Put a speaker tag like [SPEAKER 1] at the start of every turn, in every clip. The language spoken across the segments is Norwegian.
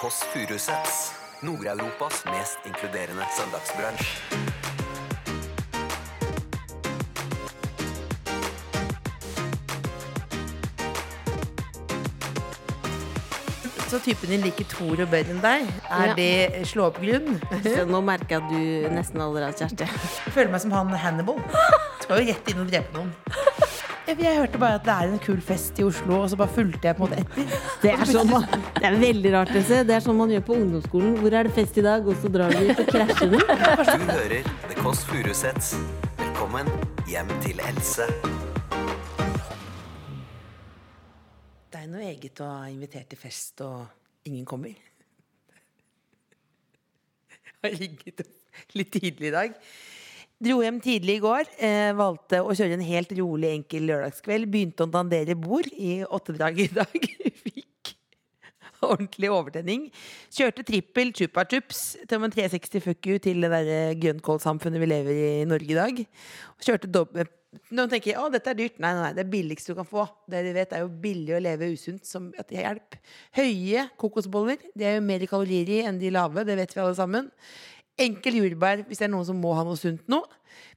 [SPEAKER 1] Kåss Furuseths. Nord-Europas mest inkluderende søndagsbransj.
[SPEAKER 2] Så typen din liker Thor og bedre enn deg. Er
[SPEAKER 3] Ja.
[SPEAKER 2] det slå opp grunn?
[SPEAKER 3] Så nå merker jeg at du nesten allerede har kjæreste.
[SPEAKER 2] Jeg føler meg som han Hannibal. Skal jo rett inn og drepe noen. Jeg, jeg hørte bare at det er en kul fest i Oslo, og så bare fulgte jeg på en måte etter.
[SPEAKER 3] Det er, sånn man, det er veldig rart. Else. Det er sånn man gjør på ungdomsskolen. Hvor er det fest i dag? Og så drar vi ut og krasjer den.
[SPEAKER 1] Du hører The Kåss Furuseths. Velkommen hjem til Else.
[SPEAKER 2] Det er noe eget å ha invitert til fest, og ingen kommer. Jeg har ringet opp litt tidlig i dag. Dro hjem tidlig i går. Eh, valgte å kjøre en helt rolig, enkel lørdagskveld. Begynte å dandere bord i åttedraget i dag. Fikk ordentlig overtenning. Kjørte trippel chupa chups til en 360 fuck you til det der grønnkålsamfunnet vi lever i i Norge i dag. Kjørte dobbelt Noen tenker å dette er dyrt. Nei, nei, nei, det er billigst du kan få. Dere vet, det er jo billig å leve usunt som at det hjelper. Høye kokosboller. De er jo mer kalorier i enn de lave. Det vet vi alle sammen. Enkel jordbær hvis det er noen som må ha noe sunt nå.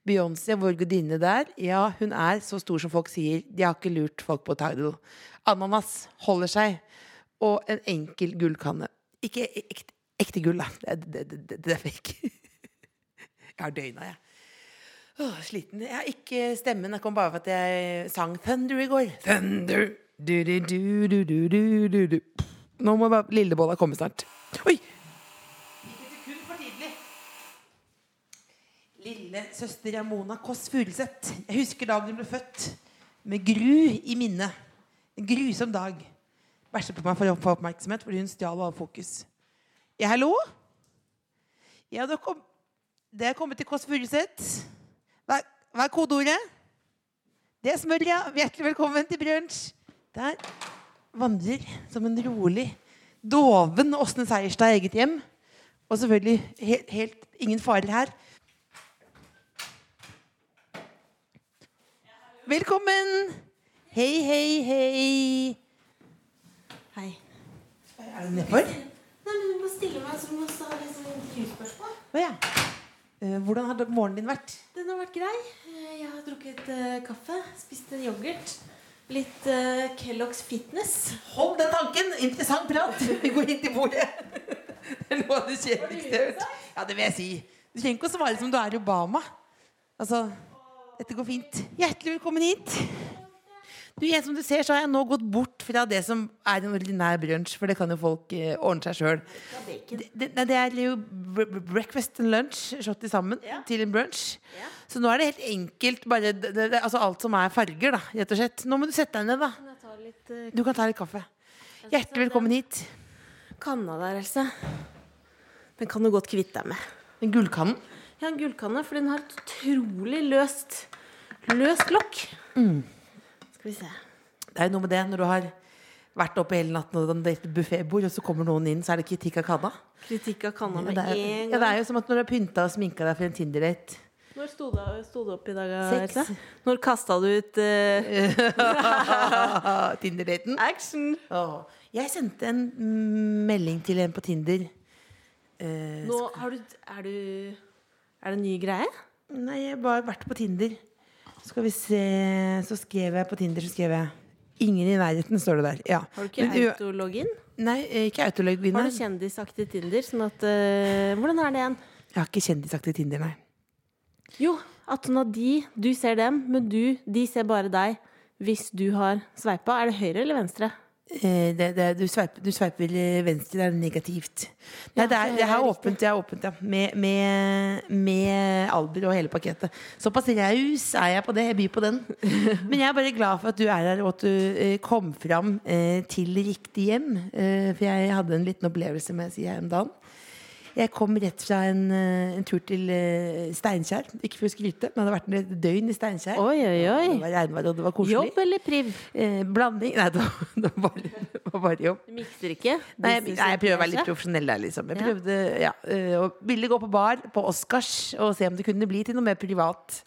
[SPEAKER 2] Beyoncé, vår gudinne der, ja, hun er så stor som folk sier. De har ikke lurt folk på Tidal. Ananas holder seg. Og en enkel gullkanne. Ikke ekte, ekte gull, da. Det, det, det, det er fake. Jeg har døgna, jeg. Åh, sliten. Jeg har ikke stemmen. Jeg kom bare for at jeg sang Thunder i går. Thunder! Du, du, du, du, du, du, du, du. Nå må bare lillebolla komme snart. Oi! Ikke et sekund for tidlig. Lillesøster Ramona Kåss Furuseth. Jeg husker dagen hun ble født, med gru i minne. En grusom dag. Bæsjet på meg for å få oppmerksomhet fordi hun stjal all fokus. Ja, hallo? Ja, det, kom, det er kommet til Kåss Furuseth. Hva, hva er kodeordet? Det er smør, ja. Hjertelig velkommen til brunsj. Der vandrer som en rolig, doven Åsne Seierstad i eget hjem. Og selvfølgelig helt, helt ingen farer her. Velkommen! Hei, hei, hei.
[SPEAKER 3] Hei.
[SPEAKER 2] Er du nedfor?
[SPEAKER 3] Nei, men du må stille meg, så du må ha intervjuspørsmål.
[SPEAKER 2] Å ja. Eh, Hvordan har morgenen din vært?
[SPEAKER 3] Den har vært grei. Eh, Jeg har drukket eh, kaffe, spist en yoghurt. Litt eh, Kellogg's Fitness.
[SPEAKER 2] Hold den tanken! Interessant prat. Vi går inn til bordet. Det er noe av det kjedeligste jeg vet. Ja, det vil jeg si. Du trenger ikke å svare som du er Obama. Altså, dette går fint. Hjertelig velkommen hit. Du, jeg, som du ser, så har jeg nå gått bort fra det som er en ordinær brunsj, for det kan jo folk eh, ordne seg sjøl. Det, det, nei, det er jo br- br- breakfast and lunch slått i sammen til en brunsj. Så nå er det helt enkelt bare det, det, det, altså alt som er farger, da, rett og slett. Nå må du sette deg ned, da.
[SPEAKER 3] Jeg tar litt eh,
[SPEAKER 2] Du kan ta litt kaffe. Hjertelig velkommen hit.
[SPEAKER 3] kanna der, Else. Den kan du godt kvitte deg med.
[SPEAKER 2] Den gullkannen.
[SPEAKER 3] Jeg har en gullkanne, for den har et utrolig løst løst lokk. Mm. Skal vi se.
[SPEAKER 2] Det er jo noe med det når du har vært oppe hele natten og det er et buffetbord, og så kommer noen inn, så er det kritikk av kanna.
[SPEAKER 3] Kritikk av kanna
[SPEAKER 2] Ja,
[SPEAKER 3] med
[SPEAKER 2] det, er,
[SPEAKER 3] en
[SPEAKER 2] ja, det
[SPEAKER 3] gang.
[SPEAKER 2] er jo som at når du har pynta og sminka deg for en Tinder-date.
[SPEAKER 3] Når sto du, sto du opp i dag?
[SPEAKER 2] Seks.
[SPEAKER 3] Else? Når kasta du ut eh,
[SPEAKER 2] Ah, Tinder-daten.
[SPEAKER 3] action?
[SPEAKER 2] Åh. Jeg sendte en mm, melding til en på Tinder. Eh,
[SPEAKER 3] Nå har du Er du Er det en ny greie?
[SPEAKER 2] Nei, jeg har bare vært på Tinder. Skal vi se Så skrev jeg på Tinder, så skrev jeg Ingen i nærheten, står det der. Ja.
[SPEAKER 3] Har du ikke
[SPEAKER 2] Men u-
[SPEAKER 3] autologin?
[SPEAKER 2] Nei, eh, ikke
[SPEAKER 3] Har
[SPEAKER 2] autologvinner.
[SPEAKER 3] du kjendisaktig Tinder? Sånn at eh, Hvordan er det igjen?
[SPEAKER 2] Jeg har ikke kjendisaktig Tinder, nei.
[SPEAKER 3] Jo, at sånn at de Du ser dem, men du De ser bare deg. Hvis du har sveipa, er det høyre eller venstre?
[SPEAKER 2] Eh, det, det, du, sveiper, du sveiper eh, venstre, det er negativt. Nei, det er,
[SPEAKER 3] så
[SPEAKER 2] det er
[SPEAKER 3] riktig.
[SPEAKER 2] åpent, det er åpent, ja. Med, med, med alder og hele pakketet. Såpass raus er jeg på det. Jeg byr på den. Men jeg er bare glad for at du er her, og at du eh, kom fram eh, til riktig hjem. Eh, for jeg hadde en liten opplevelse, må jeg si, her om dagen. Jeg kom rett fra en, eh, en tur til eh, Steinkjer. Ikke for å skryte, men jeg hadde vært et døgn i Steinkjer.
[SPEAKER 3] Oi, oi,
[SPEAKER 2] Det
[SPEAKER 3] oi.
[SPEAKER 2] var regnvær, og det var koselig.
[SPEAKER 3] Jobb eller priv?
[SPEAKER 2] Eh, blanding Nei, det var, det var, bare, det var bare jobb.
[SPEAKER 3] Du mikser ikke?
[SPEAKER 2] Nei, jeg, nei, jeg prøver å være litt
[SPEAKER 3] Business-
[SPEAKER 2] profesjonell der, liksom. Jeg
[SPEAKER 3] Ja.
[SPEAKER 2] prøvde, eh, ja, øh, og ville gå på bar på Oscars og se om det kunne bli til noe mer privat.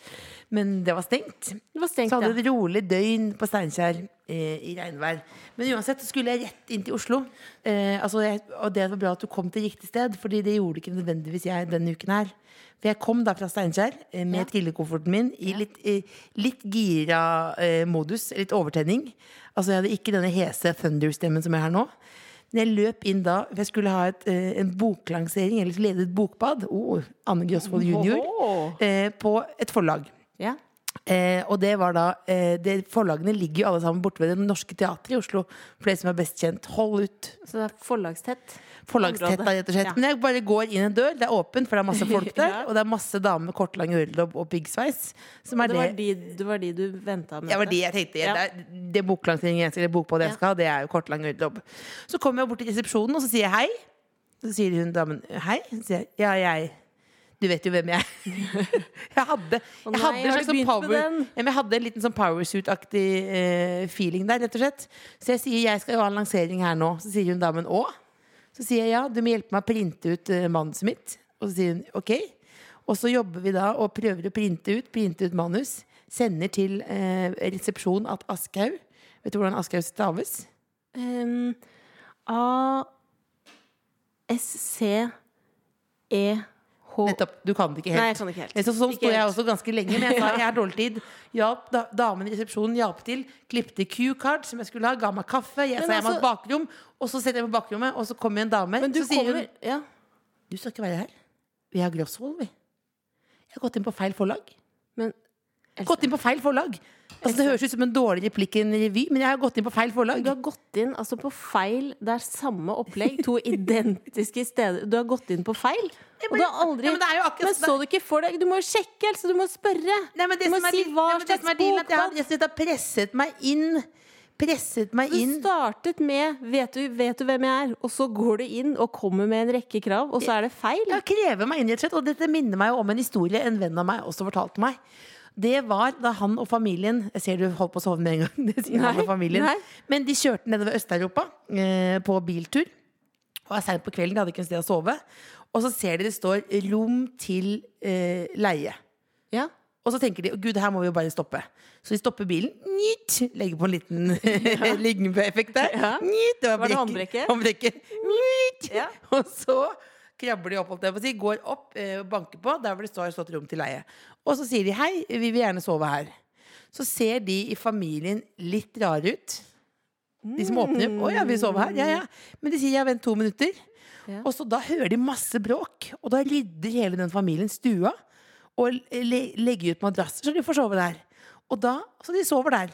[SPEAKER 2] Men det var stengt.
[SPEAKER 3] Det var stengt,
[SPEAKER 2] Så hadde
[SPEAKER 3] ja.
[SPEAKER 2] jeg et rolig døgn på Steinkjer eh, i regnvær. Men uansett så skulle jeg rett inn til Oslo. Eh, altså jeg, og det var bra at du kom til riktig sted, Fordi det gjorde ikke nødvendigvis jeg denne uken her. For jeg kom da fra Steinkjer eh, med
[SPEAKER 3] Ja.
[SPEAKER 2] trillekofferten min i litt, eh, litt gira eh, modus, litt overtenning. Altså jeg hadde ikke denne hese Thunder-stemmen som jeg har nå. Men jeg løp inn da, for jeg skulle ha et, eh, en boklansering, eller lede et bokbad, oh, Anne Grosvold junior,
[SPEAKER 3] Oho.
[SPEAKER 2] eh, på et forlag.
[SPEAKER 3] Ja.
[SPEAKER 2] Eh, og det var da eh, det, Forlagene ligger jo alle sammen borte ved Det Norske Teatret i Oslo. For det som er best kjent. Hold ut.
[SPEAKER 3] Så det er forlagstett.
[SPEAKER 2] Forlagstetta,
[SPEAKER 3] Område.
[SPEAKER 2] rett og slett.
[SPEAKER 3] Ja.
[SPEAKER 2] Men jeg bare går inn en dør. Det er åpent, for det er masse folk der.
[SPEAKER 3] Ja.
[SPEAKER 2] Og det er masse damer med kort, lang ørelobb og piggsveis. Som er
[SPEAKER 3] Det
[SPEAKER 2] det.
[SPEAKER 3] var de, det var de du venta med?
[SPEAKER 2] Det var de jeg tenkte.
[SPEAKER 3] Ja.
[SPEAKER 2] Det, er, det boklanseringen jeg skal, det bokbadet jeg skal ha, det er jo kort, lang ørelobb. Så kommer jeg bort til resepsjonen, og så sier jeg hei. Så sier hun damen hei. Så sier jeg ja, jeg Du vet jo hvem jeg er. jeg hadde,
[SPEAKER 3] Å
[SPEAKER 2] jeg hadde, en
[SPEAKER 3] nei, har
[SPEAKER 2] slags
[SPEAKER 3] du
[SPEAKER 2] sånn
[SPEAKER 3] begynt med
[SPEAKER 2] power,
[SPEAKER 3] den?
[SPEAKER 2] ja, men jeg hadde en liten sånn powersuit-aktig eh, feeling der, rett og slett. Så jeg sier jeg skal jo ha en lansering her nå. Så sier hun damen å. Så sier jeg ja, du må hjelpe meg å printe ut eh, manuset mitt. Og så sier hun ok. Og så jobber vi da og prøver å printe ut, printe ut manus. Sender til eh, resepsjon at Aschhaug Vet du hvordan Aschhaug staves?
[SPEAKER 3] Um, A S C E H
[SPEAKER 2] Nettopp. Du kan det ikke helt.
[SPEAKER 3] Nei, jeg kan det ikke helt.
[SPEAKER 2] Så, sånn
[SPEAKER 3] Ikke
[SPEAKER 2] sto jeg
[SPEAKER 3] helt.
[SPEAKER 2] også ganske lenge, men jeg sa jeg har dårlig tid. Hjalp da, damen i resepsjonen hjalp til. Klipte Q-card som jeg skulle ha, ga meg kaffe. Jeg
[SPEAKER 3] Men
[SPEAKER 2] sa jeg må ha
[SPEAKER 3] altså-
[SPEAKER 2] et bakrom, og så setter jeg meg på bakrommet, og så kommer en dame.
[SPEAKER 3] Men du
[SPEAKER 2] så sier
[SPEAKER 3] kommer
[SPEAKER 2] hun
[SPEAKER 3] ja.
[SPEAKER 2] Du skal ikke være her. Vi har Grosvold, vi. Jeg har gått inn på feil forlag.
[SPEAKER 3] Men
[SPEAKER 2] Gått inn på feil forlag! Altså, det høres ut som en dårlig replikk i en revy, men jeg har gått inn på feil forlag.
[SPEAKER 3] du har gått inn altså på feil. Det er samme opplegg. To identiske steder. Du har gått inn på feil. Og du har aldri
[SPEAKER 2] Ja, men det er jo akkurat
[SPEAKER 3] Men så du ikke for deg Du må jo sjekke, altså. Du må spørre.
[SPEAKER 2] Nei, men det
[SPEAKER 3] du må
[SPEAKER 2] som er,
[SPEAKER 3] si
[SPEAKER 2] litt-
[SPEAKER 3] hva
[SPEAKER 2] nei, men det
[SPEAKER 3] slags
[SPEAKER 2] som er dealen, er at jeg har,
[SPEAKER 3] bokbad.
[SPEAKER 2] jeg synes jeg har presset meg inn. Presset meg
[SPEAKER 3] Du
[SPEAKER 2] inn.
[SPEAKER 3] startet med vet du, 'Vet du hvem jeg er?' Og så går du inn og kommer med en rekke krav, og så er det feil.
[SPEAKER 2] Ja, krever meg inn, rett og slett. Og dette minner meg jo om en historie en venn av meg også fortalte meg. Det var da han og familien Jeg ser du holdt på å sovne med en gang. Det sier han
[SPEAKER 3] Nei,
[SPEAKER 2] og familien.
[SPEAKER 3] nei.
[SPEAKER 2] Men de kjørte nedover Øst-Europa eh, på biltur. Og er seint på kvelden, de hadde ikke noe sted å sove. Og så ser de det står 'rom til eh, leie'.
[SPEAKER 3] Ja.
[SPEAKER 2] Og så tenker de å gud, her må vi jo bare stoppe. Så de stopper bilen, nytt, legger på en liten lignende-effekt der.
[SPEAKER 3] Ja.
[SPEAKER 2] Nytt, det var,
[SPEAKER 3] Var det
[SPEAKER 2] brekket.
[SPEAKER 3] håndbrekket?
[SPEAKER 2] Håndbrekket. Nytt.
[SPEAKER 3] Ja.
[SPEAKER 2] Og så krabber de opp, holdt jeg på å si, går opp eh, og banker på, der hvor det står stått rom til leie. Og så sier de hei, vi vil gjerne sove her. Så ser de i familien litt rare ut. De som åpner opp. Å ja, vi sover her. Ja, ja. Men de sier ja, vent to minutter.
[SPEAKER 3] Ja.
[SPEAKER 2] Og så da hører de masse bråk, og da rydder hele den familien stua og le legger ut madrasser, så de får sove der. Og da, Så de sover der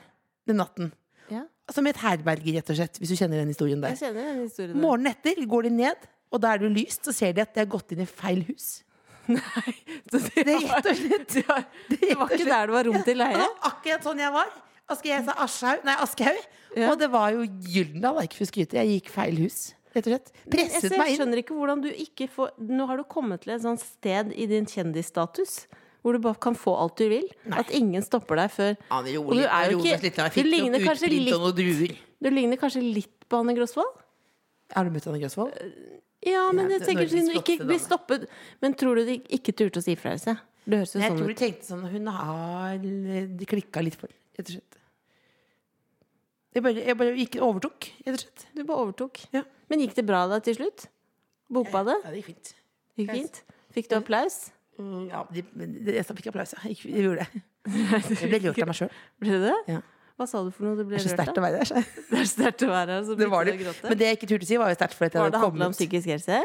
[SPEAKER 2] den natten.
[SPEAKER 3] ja.
[SPEAKER 2] Som i et herberge, rett og slett, hvis du kjenner den historien der.
[SPEAKER 3] Jeg kjenner den historien. der.
[SPEAKER 2] Morgenen etter går de ned, og da er det jo lyst, så ser de at de har gått inn i feil hus.
[SPEAKER 3] Det
[SPEAKER 2] Det er rett og slett Det,
[SPEAKER 3] Det var ikke der det var rom til
[SPEAKER 2] Og det
[SPEAKER 3] leie.
[SPEAKER 2] var akkurat sånn jeg var. Aske, jeg sa Aschhaug, nei Aschehoug.
[SPEAKER 3] Ja.
[SPEAKER 2] Og det var jo Gyldendal, det er ikke for å skryte. Jeg gikk feil hus, rett og slett.
[SPEAKER 3] Jeg,
[SPEAKER 2] Presset
[SPEAKER 3] ser,
[SPEAKER 2] meg
[SPEAKER 3] jeg
[SPEAKER 2] inn.
[SPEAKER 3] skjønner ikke hvordan du ikke får Nå har du kommet til et sånt sted i din kjendisstatus hvor du bare kan få alt du vil. At ingen stopper deg før
[SPEAKER 2] Ja, det er
[SPEAKER 3] Og du er jo
[SPEAKER 2] ironisk
[SPEAKER 3] ikke-
[SPEAKER 2] litt, da. Jeg
[SPEAKER 3] du
[SPEAKER 2] fikk noe
[SPEAKER 3] ligner kanskje
[SPEAKER 2] utprint
[SPEAKER 3] litt-
[SPEAKER 2] og noen druer.
[SPEAKER 3] Du ligner kanskje litt på Anne Grosvold?
[SPEAKER 2] Har du møtt Anne Grosvold?
[SPEAKER 3] Ja, men
[SPEAKER 2] Ja,
[SPEAKER 3] jeg
[SPEAKER 2] det-
[SPEAKER 3] tenker
[SPEAKER 2] Norges
[SPEAKER 3] siden du ikke
[SPEAKER 2] flotteste
[SPEAKER 3] blir
[SPEAKER 2] dame.
[SPEAKER 3] stoppet Men tror du de ikke turte å si fra seg? Det høres jo
[SPEAKER 2] Jeg
[SPEAKER 3] sånn
[SPEAKER 2] tror de
[SPEAKER 3] ut.
[SPEAKER 2] tenkte sånn Hun har De klikka litt for det, rett og slett. Jeg bare, jeg bare gikk overtok, rett og slett.
[SPEAKER 3] Du bare overtok.
[SPEAKER 2] Ja.
[SPEAKER 3] Men gikk det bra da til slutt? Bokbadet?
[SPEAKER 2] Ja, det gikk fint.
[SPEAKER 3] Gikk fint? Fikk du applaus?
[SPEAKER 2] Mm, Ja, de, men jeg sa- fikk applaus, ja. Jeg gikk- jeg gjorde det. Jeg ble rørt av meg sjøl.
[SPEAKER 3] Ble det det?
[SPEAKER 2] Ja.
[SPEAKER 3] Hva sa du for noe du ble
[SPEAKER 2] Det er så
[SPEAKER 3] rørt
[SPEAKER 2] sterkt
[SPEAKER 3] av?
[SPEAKER 2] å være der. så.
[SPEAKER 3] Det er sterkt å være her. så
[SPEAKER 2] Det var det.
[SPEAKER 3] begynte du å gråte.
[SPEAKER 2] Men det jeg ikke turte å si, var jo sterkt. fordi jeg
[SPEAKER 3] Var
[SPEAKER 2] hadde
[SPEAKER 3] det handla om
[SPEAKER 2] kommet
[SPEAKER 3] psykisk helse?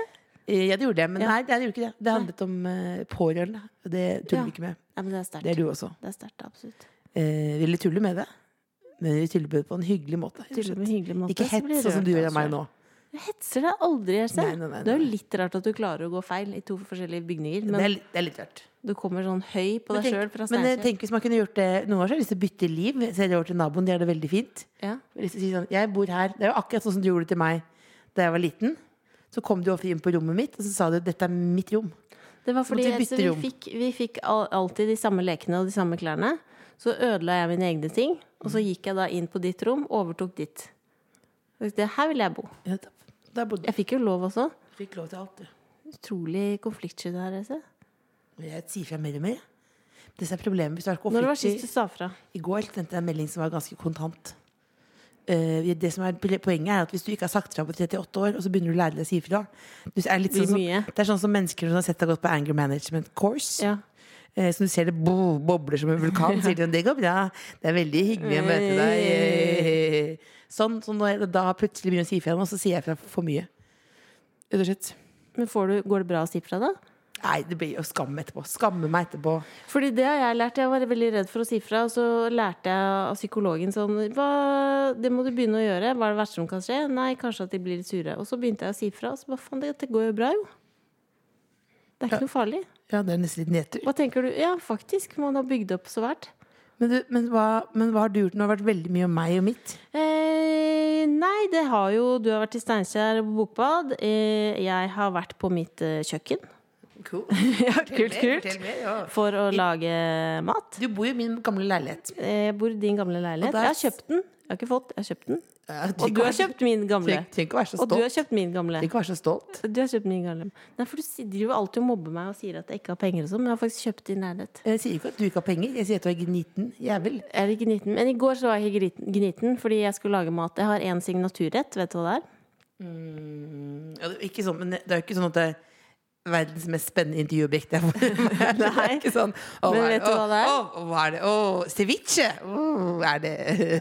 [SPEAKER 2] Eh, Ja, det gjorde det, men
[SPEAKER 3] Ja.
[SPEAKER 2] nei, det gjorde ikke det. Det handlet om eh, pårørende. og Det tuller vi
[SPEAKER 3] Ja.
[SPEAKER 2] ikke med.
[SPEAKER 3] Nei, men det er sterkt.
[SPEAKER 2] Det er du også.
[SPEAKER 3] Det er sterkt, absolutt.
[SPEAKER 2] Eh, vil du tulle med det? Men vi tuller på en hyggelig måte. rett og
[SPEAKER 3] Tuller på en
[SPEAKER 2] slett.
[SPEAKER 3] hyggelig måte,
[SPEAKER 2] Ikke
[SPEAKER 3] så blir
[SPEAKER 2] hets
[SPEAKER 3] jeg
[SPEAKER 2] sånn som
[SPEAKER 3] rørt,
[SPEAKER 2] du gjør av
[SPEAKER 3] altså.
[SPEAKER 2] meg nå.
[SPEAKER 3] Du hetser deg aldri, Else.
[SPEAKER 2] Nei, nei, nei,
[SPEAKER 3] Det er
[SPEAKER 2] nei.
[SPEAKER 3] jo litt rart at du klarer å gå feil i to forskjellige bygninger,
[SPEAKER 2] Det
[SPEAKER 3] men
[SPEAKER 2] er, litt- det er litt rart.
[SPEAKER 3] du kommer sånn høy på
[SPEAKER 2] Men
[SPEAKER 3] deg sjøl
[SPEAKER 2] tenk,
[SPEAKER 3] fra
[SPEAKER 2] men eh,
[SPEAKER 3] Steinkjer.
[SPEAKER 2] tenk hvis man kunne gjort det noen år, så har jeg lyst til å bytte liv. Se det over til naboen, de har det veldig fint.
[SPEAKER 3] Ja.
[SPEAKER 2] Jeg har lyst til å si sånn, jeg bor her. Det er jo akkurat sånn som du gjorde til meg da jeg var liten. Så kom du ofte inn på rommet mitt, og så sa du dette er mitt rom.
[SPEAKER 3] Det var fordi
[SPEAKER 2] måtte vi
[SPEAKER 3] Else,
[SPEAKER 2] bytte
[SPEAKER 3] vi
[SPEAKER 2] rom.
[SPEAKER 3] fikk, vi fikk al- alltid de samme lekene og de samme klærne. Så ødela jeg mine egne ting,
[SPEAKER 2] Mm.
[SPEAKER 3] og så gikk jeg da inn på ditt rom, overtok ditt. Og Det her vil jeg bo.
[SPEAKER 2] Ja, da- Der bodde
[SPEAKER 3] Jeg fikk jo lov også.
[SPEAKER 2] du. Fikk lov til alt, du.
[SPEAKER 3] Utrolig konfliktsky det her, Else.
[SPEAKER 2] Jeg sier fra mer og mer. Det som er problemet hvis du har
[SPEAKER 3] Når det
[SPEAKER 2] konflikt
[SPEAKER 3] var sist du sa fra?
[SPEAKER 2] I går sendte jeg en melding som var ganske kontant. Eh, det som er Poenget er at hvis du ikke har sagt fra på 38 år, og så begynner du å lære deg å si fra du er litt
[SPEAKER 3] Blir
[SPEAKER 2] sånn som,
[SPEAKER 3] mye.
[SPEAKER 2] Det er sånn som mennesker som har sett deg gått på anger management course.
[SPEAKER 3] Ja.
[SPEAKER 2] Eh, som du ser det bo, bobler som en vulkan. Sier de sånn, det går bra. Det er veldig hyggelig å møte deg. Sånn, så når jeg da plutselig begynner å si fra, nå, så sier jeg fra for mye. Rett og slett.
[SPEAKER 3] Men får du, går det bra å si fra, da?
[SPEAKER 2] Nei, det blir jo skam etterpå. Skamme meg etterpå.
[SPEAKER 3] Fordi det har jeg lært. Jeg var veldig redd for å si fra. Og så lærte jeg av psykologen sånn Hva, Det må du begynne å gjøre. Hva er det verste som kan skje? Nei, kanskje at de blir litt sure. Og så begynte jeg å si fra. Og så bare faen, dette går jo bra, jo. Det er ikke noe farlig.
[SPEAKER 2] Ja, det er nesten litt nedtur.
[SPEAKER 3] Hva tenker du? Ja, faktisk. Man har bygd opp så svært.
[SPEAKER 2] Men, du, men, hva, men hva har du gjort? Nå har det vært veldig mye om meg og mitt.
[SPEAKER 3] Eh, nei, det har jo Du har vært i Steinkjer på bokbad. Eh, jeg har vært på mitt eh, kjøkken
[SPEAKER 2] Cool.
[SPEAKER 3] kult, kult. for å lage mat.
[SPEAKER 2] Du bor jo i min gamle leilighet.
[SPEAKER 3] Eh, Jeg bor i din gamle
[SPEAKER 2] Og
[SPEAKER 3] leilighet.
[SPEAKER 2] der-
[SPEAKER 3] Jeg har kjøpt den. Jeg har ikke fått, jeg har kjøpt den.
[SPEAKER 2] Trenger
[SPEAKER 3] Og du
[SPEAKER 2] ikke
[SPEAKER 3] har
[SPEAKER 2] være-
[SPEAKER 3] kjøpt min gamle.
[SPEAKER 2] Trenger trenger ikke å være så
[SPEAKER 3] Og du har
[SPEAKER 2] stolt.
[SPEAKER 3] kjøpt min gamle.
[SPEAKER 2] Trenger ikke å være så stolt.
[SPEAKER 3] Du har kjøpt min gamle. Nei, for du si- driver alltid og mobber meg og sier at jeg ikke har penger og sånn, men jeg har faktisk kjøpt din leilighet.
[SPEAKER 2] Jeg sier ikke at du ikke har penger. Jeg sier at du er gniten jævel.
[SPEAKER 3] Jeg er gniten. Men i går så var jeg ikke grit- gniten fordi jeg skulle lage mat. Jeg har én signaturrett, vet du hva det er?
[SPEAKER 2] Ja, det, er ikke sånn, men det er jo ikke sånn at det er verdens mest spennende intervjuobjekt. jeg får. Det er
[SPEAKER 3] Nei.
[SPEAKER 2] ikke sånn, å,
[SPEAKER 3] Men
[SPEAKER 2] hva
[SPEAKER 3] vet du hva det er?
[SPEAKER 2] Å, å, hva er det? Å, ceviche! Å, er det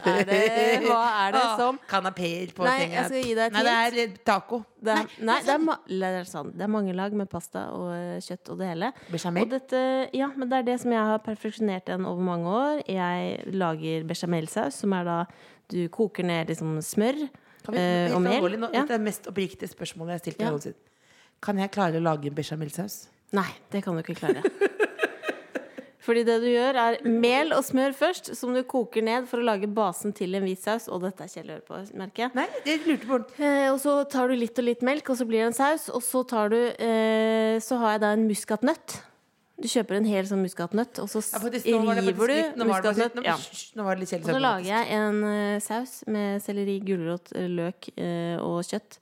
[SPEAKER 3] Er det- Ah. hva er det
[SPEAKER 2] Å,
[SPEAKER 3] som-
[SPEAKER 2] Kanapeer på
[SPEAKER 3] Nei,
[SPEAKER 2] fingeren.
[SPEAKER 3] jeg skal gi deg et
[SPEAKER 2] Nei, det er eh, taco.
[SPEAKER 3] Det er, nei,
[SPEAKER 2] sånn.
[SPEAKER 3] sånn- det, er, ma- det er sant. Det er mange lag med pasta og eh, kjøtt og det hele.
[SPEAKER 2] Bechamel?
[SPEAKER 3] Og dette, ja, men det er det som jeg har perfeksjonert igjen over mange år. Jeg lager bechamelsaus, som er da du koker ned liksom smør
[SPEAKER 2] Kan vi,
[SPEAKER 3] eh,
[SPEAKER 2] helt
[SPEAKER 3] og mel.
[SPEAKER 2] alvorlig nå,
[SPEAKER 3] Ja.
[SPEAKER 2] Dette er det mest oppriktige spørsmålet jeg har stilt deg
[SPEAKER 3] Ja.
[SPEAKER 2] noensinne. Kan jeg klare å lage en bechamelsaus?
[SPEAKER 3] Nei, det kan du ikke klare. Fordi det du gjør, er mel og smør først, som du koker ned for å lage basen til en hvit saus. Og dette er Kjell Øre på, merker jeg.
[SPEAKER 2] Nei, jeg lurte på
[SPEAKER 3] Eh, og så tar du litt og litt melk, og så blir det en saus. Og så, tar du, eh, så har jeg da en muskatnøtt. Du kjøper en hel sånn muskatnøtt, og så s-
[SPEAKER 2] Ja, faktisk, nå var det faktisk
[SPEAKER 3] river
[SPEAKER 2] litt-
[SPEAKER 3] du
[SPEAKER 2] nå var det faktisk-
[SPEAKER 3] muskatnøtt.
[SPEAKER 2] nå-
[SPEAKER 3] Ja.
[SPEAKER 2] hysj, Nå var det litt
[SPEAKER 3] Og så
[SPEAKER 2] kjedelig.
[SPEAKER 3] lager jeg en eh, saus med selleri, gulrot, eh, løk eh, og kjøtt.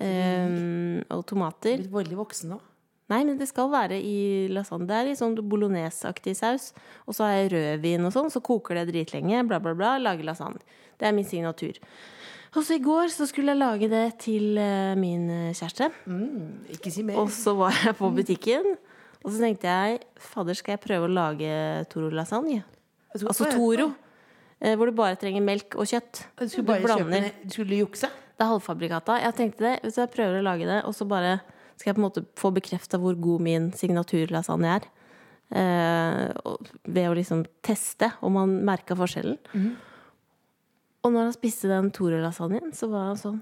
[SPEAKER 2] Mm.
[SPEAKER 3] eh, og tomater.
[SPEAKER 2] Blitt veldig voksen nå.
[SPEAKER 3] Nei, men det skal være i lasagne. Det er i sånn bologneseaktig saus. Og så har jeg rødvin og sånn, så koker det dritlenge. Bla, bla, bla. Lager lasagne. Det er min signatur. Og så i går så skulle jeg lage det til eh, min eh, kjæreste.
[SPEAKER 2] Ikke si mer.
[SPEAKER 3] Og så var jeg på butikken, og så tenkte jeg Fader, skal jeg prøve å lage Toro lasagne?
[SPEAKER 2] Jeg tror-
[SPEAKER 3] Altså Toro. eh, Hvor du bare trenger melk og kjøtt.
[SPEAKER 2] Du
[SPEAKER 3] Du
[SPEAKER 2] skulle bare kjøpe
[SPEAKER 3] blander.
[SPEAKER 2] en- Du skulle jukse?
[SPEAKER 3] Det er halvfabrikata. Jeg tenkte det, hvis jeg prøver å lage det, og så bare skal jeg på en måte få bekrefta hvor god min signaturlasagne er. Eh, og- ved å liksom teste om han merka forskjellen. Og når han spiste den Tore-lasagnen, så var han sånn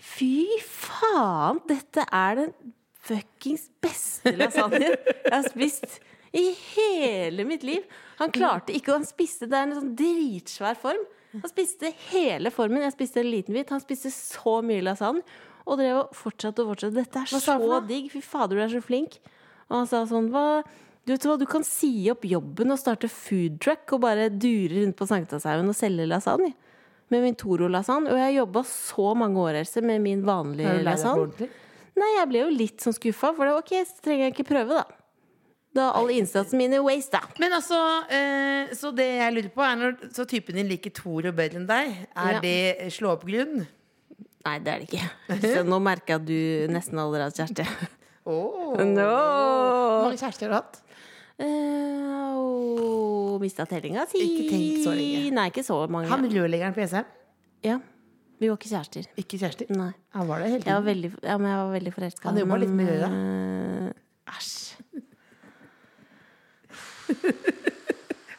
[SPEAKER 3] Fy faen! Dette er den fuckings beste lasagnen jeg har spist i hele mitt liv. Han klarte ikke, og han spiste det er en sånn dritsvær form. Han spiste hele formen. Jeg spiste en liten bit. Han spiste så mye lasagne. Og drev og fortsatte og fortsatte. Dette er
[SPEAKER 2] Hva sa han for
[SPEAKER 3] så
[SPEAKER 2] noe?
[SPEAKER 3] digg. Fy fader, du er så flink. Og han sa sånn hva, Du vet hva, du kan si opp jobben og starte food truck og bare dure rundt på Sankthanshaugen og selge lasagne. Med min Toro-lasagne. Og jeg jobba så mange år Else, med min vanlige
[SPEAKER 2] Er du lei deg for
[SPEAKER 3] lasagne.
[SPEAKER 2] ordentlig?
[SPEAKER 3] Nei, jeg ble jo litt sånn skuffa, for det var ok, så trenger jeg ikke prøve, da. Da er all innsatsen min er waste, da.
[SPEAKER 2] Men altså, eh, så det jeg lurer på, er når så typen din liker Toro bedre enn deg, er
[SPEAKER 3] Ja.
[SPEAKER 2] det slå opp grunn?
[SPEAKER 3] Nei, det er det ikke. Så nå merker jeg at du nesten allerede har kjæreste.
[SPEAKER 2] Oh. Hvor
[SPEAKER 3] No.
[SPEAKER 2] mange kjærester har du hatt?
[SPEAKER 3] Uh, Mista tellinga si.
[SPEAKER 2] Ikke tenk så lenge.
[SPEAKER 3] Nei, ikke så mange.
[SPEAKER 2] Han rørleggeren på SM?
[SPEAKER 3] Ja. Vi var ikke kjærester.
[SPEAKER 2] Ikke kjærester?
[SPEAKER 3] Nei.
[SPEAKER 2] Han var det hele
[SPEAKER 3] Jeg var
[SPEAKER 2] tiden.
[SPEAKER 3] veldig, ja, men jeg var veldig forelska.
[SPEAKER 2] Han jobba litt med
[SPEAKER 3] Æsj.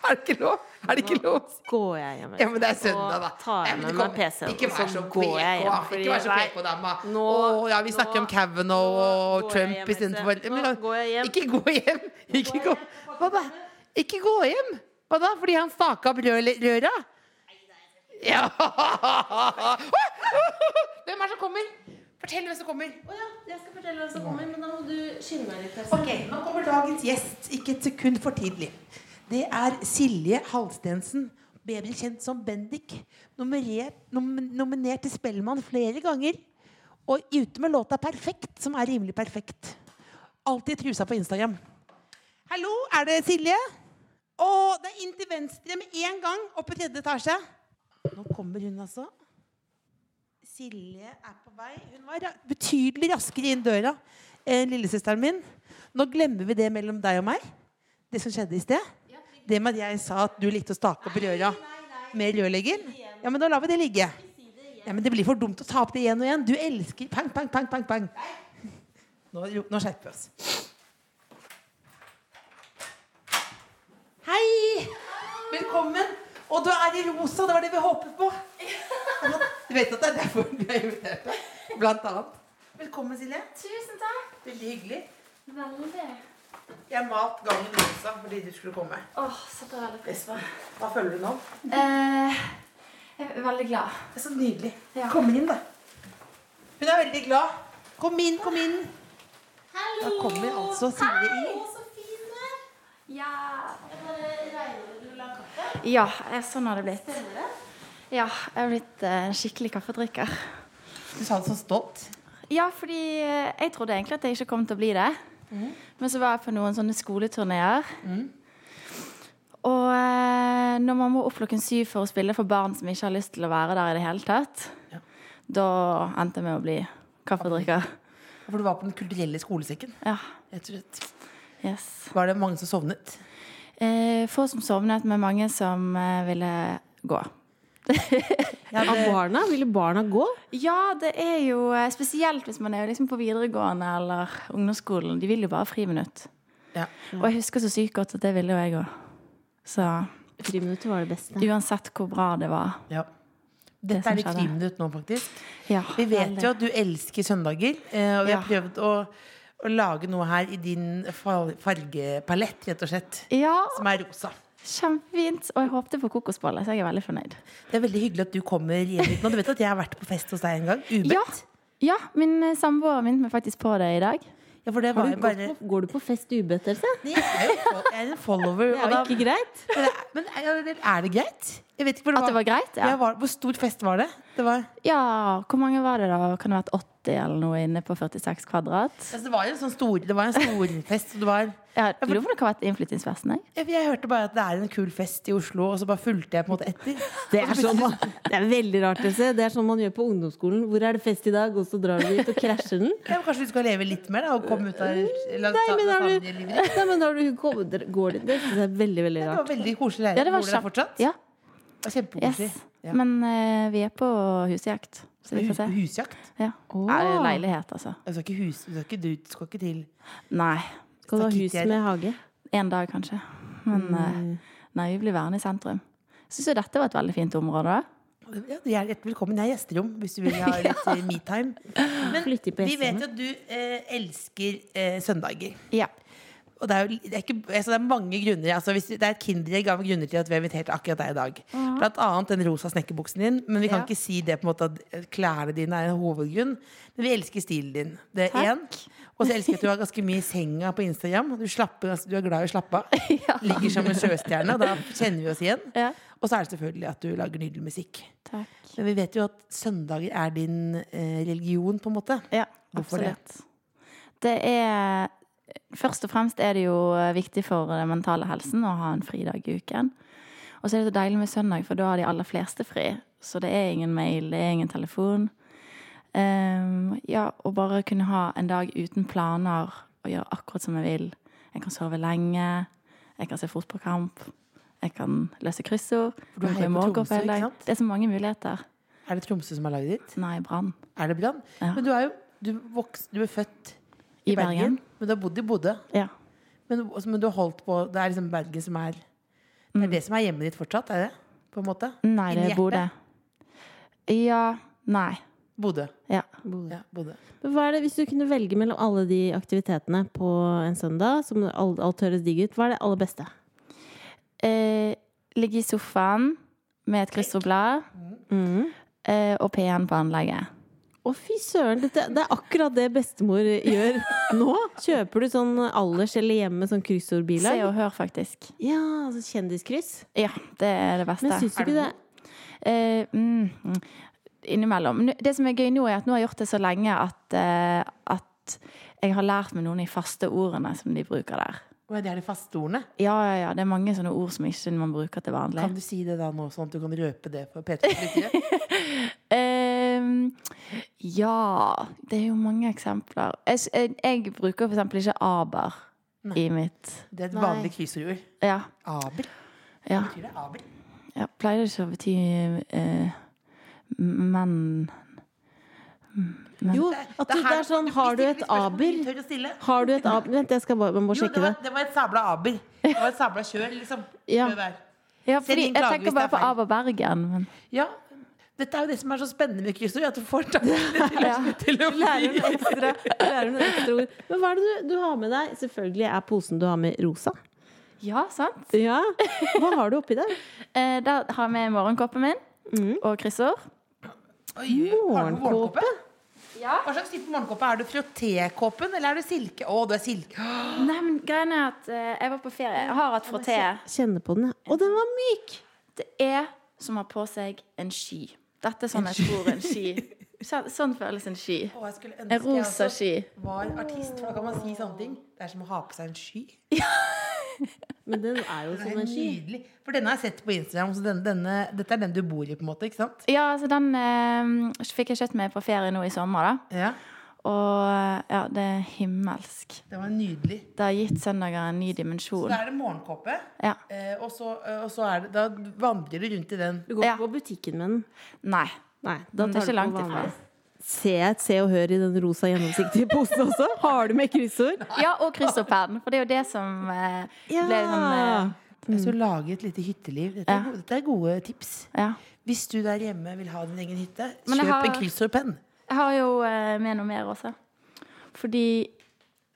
[SPEAKER 2] Er det ikke lov? Er det ikke lov?
[SPEAKER 3] Går jeg hjem?
[SPEAKER 2] Ja, men det er
[SPEAKER 3] Og
[SPEAKER 2] søndag, da. Ja,
[SPEAKER 3] tar jeg
[SPEAKER 2] men
[SPEAKER 3] med
[SPEAKER 2] du
[SPEAKER 3] meg
[SPEAKER 2] kan-
[SPEAKER 3] PC-en,
[SPEAKER 2] Ikke
[SPEAKER 3] og
[SPEAKER 2] vær
[SPEAKER 3] så
[SPEAKER 2] så
[SPEAKER 3] går jeg hjem,
[SPEAKER 2] PK.
[SPEAKER 3] fordi
[SPEAKER 2] Ikke vær så
[SPEAKER 3] jeg-
[SPEAKER 2] PK, dama.
[SPEAKER 3] Nå-
[SPEAKER 2] Å, ja, vi
[SPEAKER 3] nå-
[SPEAKER 2] snakker om Kavanaugh
[SPEAKER 3] nå
[SPEAKER 2] og
[SPEAKER 3] går jeg hjem,
[SPEAKER 2] Trump istedenfor
[SPEAKER 3] Else. Nå går jeg hjem.
[SPEAKER 2] Ikke gå hjem! Ikke gå Hva da? Ikke gå hjem! Hva da? Fordi han staka opp rø- røra? Ja! Hvem er det som kommer? Fortell hvem som kommer.
[SPEAKER 3] Jeg skal fortelle hvem som kommer, men da må du skynde deg litt.
[SPEAKER 2] Ok, Nå kommer dagens gjest, ikke et sekund for tidlig. Det er Silje Halstensen, bedre kjent som Bendik. Nominert, nom, nominert til Spellemann flere ganger. Og ute med låta 'Perfekt', som er rimelig perfekt. Alltid i trusa på Instagram. Hallo, er det Silje? Å, Å, det er inn til venstre med en gang, opp i tredje etasje. Nå kommer hun, altså. Silje er på vei. Hun var ra- betydelig raskere inn døra enn lillesøsteren min. Nå glemmer vi det mellom deg og meg, det som skjedde i sted. Det med at jeg sa at du likte å stake opp røra med rørleggeren. Ja, men da lar vi det ligge. Ja, men Det blir for dumt å ta opp det igjen og igjen. Du elsker pang, pang, pang, pang, pang. Nå, ro- nå skjerper vi oss. Hei! Velkommen. Og du er i rosa, det var det vi håpet på. Du vet at det er derfor vi har invitert deg. Blant annet. Velkommen, Silje.
[SPEAKER 4] Tusen takk.
[SPEAKER 2] Veldig hyggelig.
[SPEAKER 4] Veldig.
[SPEAKER 2] Jeg malte gangen rosa fordi du skulle komme.
[SPEAKER 4] Åh, setter jeg veldig pris på.
[SPEAKER 2] Hva føler du nå?
[SPEAKER 4] Eh, jeg er veldig glad.
[SPEAKER 2] Det er så nydelig.
[SPEAKER 4] Ja.
[SPEAKER 2] Kom inn, da. Hun er veldig glad. Kom inn, kom inn.
[SPEAKER 4] Hallo!
[SPEAKER 2] Da kommer altså Silje inn.
[SPEAKER 4] så fin Eh, du er. Ja. Ja, eh, sånn har det blitt. Ja, jeg har blitt eh, en skikkelig kaffedrikker.
[SPEAKER 2] Du sa det så stolt.
[SPEAKER 4] Ja, fordi eh, jeg trodde egentlig at jeg ikke kom til å bli det. Men så var jeg på noen sånne skoleturneer. Og eh, når man må opp klokken syv for å spille for barn som ikke har lyst til å være der i det hele tatt,
[SPEAKER 2] Ja.
[SPEAKER 4] da endte jeg med å bli kaffedrikker.
[SPEAKER 2] For du var på Den kulturelle skolesekken.
[SPEAKER 4] Ja,
[SPEAKER 2] Rett og slett.
[SPEAKER 4] yes.
[SPEAKER 2] Var det mange som sovnet?
[SPEAKER 4] Eh, få som sovnet, men mange som eh, ville gå.
[SPEAKER 3] Av barna? Ville barna gå?
[SPEAKER 4] Ja, det er jo eh, spesielt hvis man er liksom på videregående eller ungdomsskolen. De vil jo bare ha friminutt.
[SPEAKER 2] Ja.
[SPEAKER 4] Og jeg husker så sykt godt at det ville jo jeg òg. Så
[SPEAKER 3] Friminuttet var det beste.
[SPEAKER 4] uansett hvor bra det var
[SPEAKER 2] ja.
[SPEAKER 4] det
[SPEAKER 2] Dette
[SPEAKER 4] som
[SPEAKER 2] er litt
[SPEAKER 4] skjedde.
[SPEAKER 2] friminutt nå, faktisk.
[SPEAKER 4] Ja,
[SPEAKER 2] Vi vet
[SPEAKER 4] veldig.
[SPEAKER 2] jo at du elsker søndager, eh, og vi har
[SPEAKER 4] Ja.
[SPEAKER 2] prøvd å, å lage noe her i din fal- fargepalett, rett og slett,
[SPEAKER 4] Ja,
[SPEAKER 2] som er rosa.
[SPEAKER 4] kjempefint. Og jeg håpte på kokosboller, så jeg er veldig fornøyd.
[SPEAKER 2] Det er veldig hyggelig at du kommer hjem hit nå. Du vet at jeg har vært på fest hos deg en gang? Ubedt.
[SPEAKER 4] Ja,
[SPEAKER 2] Ja.
[SPEAKER 4] ja min eh, samboer minnet meg faktisk på det i dag.
[SPEAKER 2] for det var
[SPEAKER 3] Har du
[SPEAKER 2] jo
[SPEAKER 3] gått
[SPEAKER 2] bare
[SPEAKER 3] på, går du på fest ubedt, Else?
[SPEAKER 2] Nei, Jeg er jo fol- jeg er en follower.
[SPEAKER 3] Det er jo
[SPEAKER 2] og da-
[SPEAKER 3] ikke greit.
[SPEAKER 2] Men er- Men er det- er det greit? Jeg vet ikke hvor det
[SPEAKER 4] At det var greit?
[SPEAKER 2] Jeg
[SPEAKER 4] Ja.
[SPEAKER 2] var, hvor stor fest var det? Det var,
[SPEAKER 4] ja. Hvor mange var det, da? Kan det ha vært 80 eller noe inne på 46 kvadrat?
[SPEAKER 2] altså, det var jo en sånn stor, det var en stor fest. og Det var,
[SPEAKER 4] Jeg lurer på om det kan ha vært innflyttingsfesten. jeg.
[SPEAKER 2] jeg, jeg hørte bare at det er en kul fest i Oslo, og så bare fulgte jeg på en måte etter.
[SPEAKER 3] Det er, sånn man, det er veldig rart, Else. Det er sånn man gjør på ungdomsskolen. Hvor er det fest i dag? Og så drar du dit og krasjer den.
[SPEAKER 2] Ja, men kanskje du skal leve litt mer da, og komme ut av
[SPEAKER 4] Mm,
[SPEAKER 2] eller
[SPEAKER 3] Nei,
[SPEAKER 2] ta-
[SPEAKER 3] men har du,
[SPEAKER 2] lasagnelivet ditt?
[SPEAKER 3] nei, men har du går, går det, det synes jeg er veldig, veldig
[SPEAKER 2] Det
[SPEAKER 3] rart.
[SPEAKER 2] var veldig koselig leir.
[SPEAKER 4] Ja, det var
[SPEAKER 2] Bor dere
[SPEAKER 4] kjapt.
[SPEAKER 2] fortsatt?
[SPEAKER 4] Ja,
[SPEAKER 2] Det var Kjempekoselig.
[SPEAKER 4] yes.
[SPEAKER 2] Ja.
[SPEAKER 4] Men eh, vi er på husjakt, så vi får
[SPEAKER 2] Hu-
[SPEAKER 4] se.
[SPEAKER 2] Husjakt?
[SPEAKER 4] Ja.
[SPEAKER 3] Åh.
[SPEAKER 4] Er det leilighet, altså?
[SPEAKER 2] Du skal ikke, hus, du skal ikke, du skal ikke til
[SPEAKER 4] Nei.
[SPEAKER 3] Skal du ha hus
[SPEAKER 2] Stakittgjerde.
[SPEAKER 3] med hage?
[SPEAKER 4] En dag, kanskje. Men eh, nei, vi blir værende i sentrum. Jeg syns jo dette var et veldig fint område. da.
[SPEAKER 2] ja, du er hjertelig velkommen. Jeg er gjesterom hvis du vil ha litt eh, me-time. Men
[SPEAKER 3] Flytte på
[SPEAKER 2] vi vet
[SPEAKER 3] gjestene.
[SPEAKER 2] jo at du eh, elsker eh, søndager.
[SPEAKER 4] Ja.
[SPEAKER 2] Og det er, jo, det, er ikke, altså det er mange grunner altså hvis, Det er et kinderegg av grunner til at vi har invitert akkurat deg i dag. Blant annet den rosa snekkerbuksen din. Men vi kan
[SPEAKER 4] Ja.
[SPEAKER 2] ikke si det på en måte at eh, klærne dine er en hovedgrunn. Men vi elsker stilen din. Det er én. Og så elsker jeg at du har ganske mye i senga på Instagram. Du, slapper, ganske- du er glad i å slappe av. Ligger som en sjøstjerne, og da kjenner vi oss igjen.
[SPEAKER 4] Ja.
[SPEAKER 2] Og så er det selvfølgelig at du lager nydelig musikk.
[SPEAKER 4] Takk.
[SPEAKER 2] Men vi vet jo at søndager er din eh, religion, på en måte.
[SPEAKER 4] Ja,
[SPEAKER 2] Hvorfor det?
[SPEAKER 4] absolutt. Det er Først og fremst er det jo eh, viktig for den mentale helsen å ha en fridag i uken. Og så er det så deilig med søndag, for da har de aller fleste fri. Så det er ingen mail, det er ingen telefon. Ehm, ja, og bare kunne ha en dag uten planer og gjøre akkurat som jeg vil. Jeg kan sove lenge, jeg kan se fotballkamp, jeg kan løse kryssord.
[SPEAKER 2] du
[SPEAKER 4] jeg kan
[SPEAKER 2] heier
[SPEAKER 4] gå i
[SPEAKER 2] på
[SPEAKER 4] målgård
[SPEAKER 2] Tromsø,
[SPEAKER 4] hele
[SPEAKER 2] ikke
[SPEAKER 4] dag.
[SPEAKER 2] sant?
[SPEAKER 4] Det er så mange muligheter.
[SPEAKER 2] Er det Tromsø som har laget ditt?
[SPEAKER 4] Nei, Brann.
[SPEAKER 2] Er det Brann?
[SPEAKER 4] Ja.
[SPEAKER 2] Men du er jo du voks, du er født
[SPEAKER 4] I Bergen.
[SPEAKER 2] Men du har bodd i Bodø.
[SPEAKER 4] Ja.
[SPEAKER 2] Men, altså, men du har holdt på Det er liksom Bergen som er Det
[SPEAKER 4] Mm.
[SPEAKER 2] er det som er hjemmet ditt fortsatt, er det? På en måte?
[SPEAKER 4] Nei,
[SPEAKER 2] Inni
[SPEAKER 4] det bor det.
[SPEAKER 2] hjertet?
[SPEAKER 4] Ja. Nei.
[SPEAKER 2] Bodø.
[SPEAKER 4] Ja.
[SPEAKER 3] Bodø.
[SPEAKER 2] Ja, Bodø.
[SPEAKER 3] Men Hva er det, hvis du kunne velge mellom alle de aktivitetene på en søndag, som alt, alt høres digg ut, hva er det aller beste?
[SPEAKER 4] Eh, ligge i sofaen med et kryssordblad
[SPEAKER 3] Mm.
[SPEAKER 4] eh, og P1 på anlegget.
[SPEAKER 3] Å, fy søren! Dette, det er akkurat det bestemor gjør nå. Kjøper du sånn Allers eller hjemme sånn
[SPEAKER 4] Se
[SPEAKER 3] kryssordbilag?
[SPEAKER 4] og hør, faktisk.
[SPEAKER 3] Ja, altså kjendiskryss.
[SPEAKER 4] Ja, det er det beste.
[SPEAKER 3] Men syns du ikke det?
[SPEAKER 4] Eh, mm, mm, innimellom. Men Det som er gøy nå, er at nå har jeg gjort det så lenge at, eh, at jeg har lært meg noen av de faste ordene som de bruker der.
[SPEAKER 2] Å, ja, det er de faste ordene.
[SPEAKER 4] Ja, ja, ja. Det er mange sånne ord som ikke man bruker til vanlig.
[SPEAKER 2] Kan du si det da nå, sånn at du kan røpe det for P3-politiet?
[SPEAKER 4] Ehm, ja Det er jo mange eksempler. Jeg, s- jeg, jeg bruker for eksempel ikke aber i mitt
[SPEAKER 2] Det er et
[SPEAKER 3] Nei.
[SPEAKER 2] vanlig kryssordord.
[SPEAKER 4] Ja.
[SPEAKER 2] Aber.
[SPEAKER 4] ja.
[SPEAKER 2] Betyr det aber?
[SPEAKER 4] ja pleier det ikke å bety eh, menn
[SPEAKER 3] Jo,
[SPEAKER 2] Det
[SPEAKER 3] at
[SPEAKER 2] det
[SPEAKER 3] du,
[SPEAKER 2] her
[SPEAKER 3] det er sånn Har du et
[SPEAKER 2] stiller spørsmål du
[SPEAKER 3] aber?
[SPEAKER 2] ikke tør å stille.
[SPEAKER 3] Har du et aber? Vent, jeg skal bare, jeg
[SPEAKER 2] Jo,
[SPEAKER 3] må
[SPEAKER 2] det
[SPEAKER 3] sjekke det.
[SPEAKER 2] var, det var et sabla aber. Det var et sabla kjør, liksom.
[SPEAKER 3] Ja.
[SPEAKER 2] Prøv her.
[SPEAKER 4] Ja,
[SPEAKER 2] Send
[SPEAKER 4] fordi
[SPEAKER 2] inn
[SPEAKER 4] jeg
[SPEAKER 2] klage hvis
[SPEAKER 4] tenker
[SPEAKER 2] det
[SPEAKER 4] bare
[SPEAKER 2] er
[SPEAKER 4] på
[SPEAKER 2] feil.
[SPEAKER 4] Aber Bergen. Men
[SPEAKER 2] ja. Dette er jo det som er så spennende med kryssord, at du får tankene til, å- til å
[SPEAKER 3] Lærer
[SPEAKER 2] bli
[SPEAKER 3] hun ekstra, lærer hun ekstra ord. Men hva er det du, du har med deg? Selvfølgelig er posen du har med, rosa.
[SPEAKER 4] ja, sant?
[SPEAKER 3] Ja. Hva har du oppi der?
[SPEAKER 4] Eh, da har vi morgenkåpen min og kryssord.
[SPEAKER 2] Oi, har du
[SPEAKER 3] Morgenkåpe?
[SPEAKER 2] morgenkåpe? Hva slags type morgenkåpe? Er du frottékåpen, eller er du silke? Å, du er silke. Åh,
[SPEAKER 4] Nei, men greien er at eh, jeg var på ferie. Jeg har hatt frotté.
[SPEAKER 3] Kjenne på den. ja. Å, den var myk!
[SPEAKER 4] Det er som å ha på seg en sky. Dette er sånn jeg tror en sky. Sånn sånn føles en sky.
[SPEAKER 2] jeg skulle ønske
[SPEAKER 4] En rosa
[SPEAKER 2] jeg
[SPEAKER 4] sky.
[SPEAKER 2] også var artist, for da kan man si sånne ting. Det er som å ha på seg en sky.
[SPEAKER 3] Men den er jo
[SPEAKER 2] Det
[SPEAKER 3] som
[SPEAKER 2] er
[SPEAKER 3] en sky.
[SPEAKER 2] nydelig. For denne har jeg sett på Instagram, så denne, denne, dette er den du bor i, på en måte, ikke sant?
[SPEAKER 4] Ja, altså den eh, fikk jeg kjøpt meg på ferie nå i sommer, da.
[SPEAKER 2] Ja,
[SPEAKER 4] Og eh, ja, det er himmelsk.
[SPEAKER 2] det var nydelig.
[SPEAKER 4] Det har gitt søndager en ny
[SPEAKER 2] Så
[SPEAKER 4] dimensjon.
[SPEAKER 2] da er det morgenkåpe,
[SPEAKER 4] Ja.
[SPEAKER 2] eh, og, så, eh, og så er det Da vandrer du rundt i den.
[SPEAKER 3] Du går
[SPEAKER 4] Ja.
[SPEAKER 3] ikke på butikken med den.
[SPEAKER 4] Nei.
[SPEAKER 3] Nei, da
[SPEAKER 4] Men det er
[SPEAKER 3] tar
[SPEAKER 4] ikke
[SPEAKER 3] du
[SPEAKER 4] langt
[SPEAKER 3] på
[SPEAKER 4] ifra.
[SPEAKER 3] vanlig. Se, se og hør i den rosa gjennomsiktige posen også. Har du med kryssord?
[SPEAKER 4] Ja, og kryssordpaden. For det er jo det som eh,
[SPEAKER 3] Ja.
[SPEAKER 4] ble sånn eh,
[SPEAKER 2] Jeg skal Altså, lage et lite hytteliv. Dette er,
[SPEAKER 4] Ja.
[SPEAKER 2] gode, dette er gode tips.
[SPEAKER 4] Ja.
[SPEAKER 2] Hvis du der hjemme vil ha din egen hytte,
[SPEAKER 4] Men
[SPEAKER 2] kjøp
[SPEAKER 4] jeg har-
[SPEAKER 2] en kryssordpenn.
[SPEAKER 4] Jeg har jo eh, med noe mer også. Fordi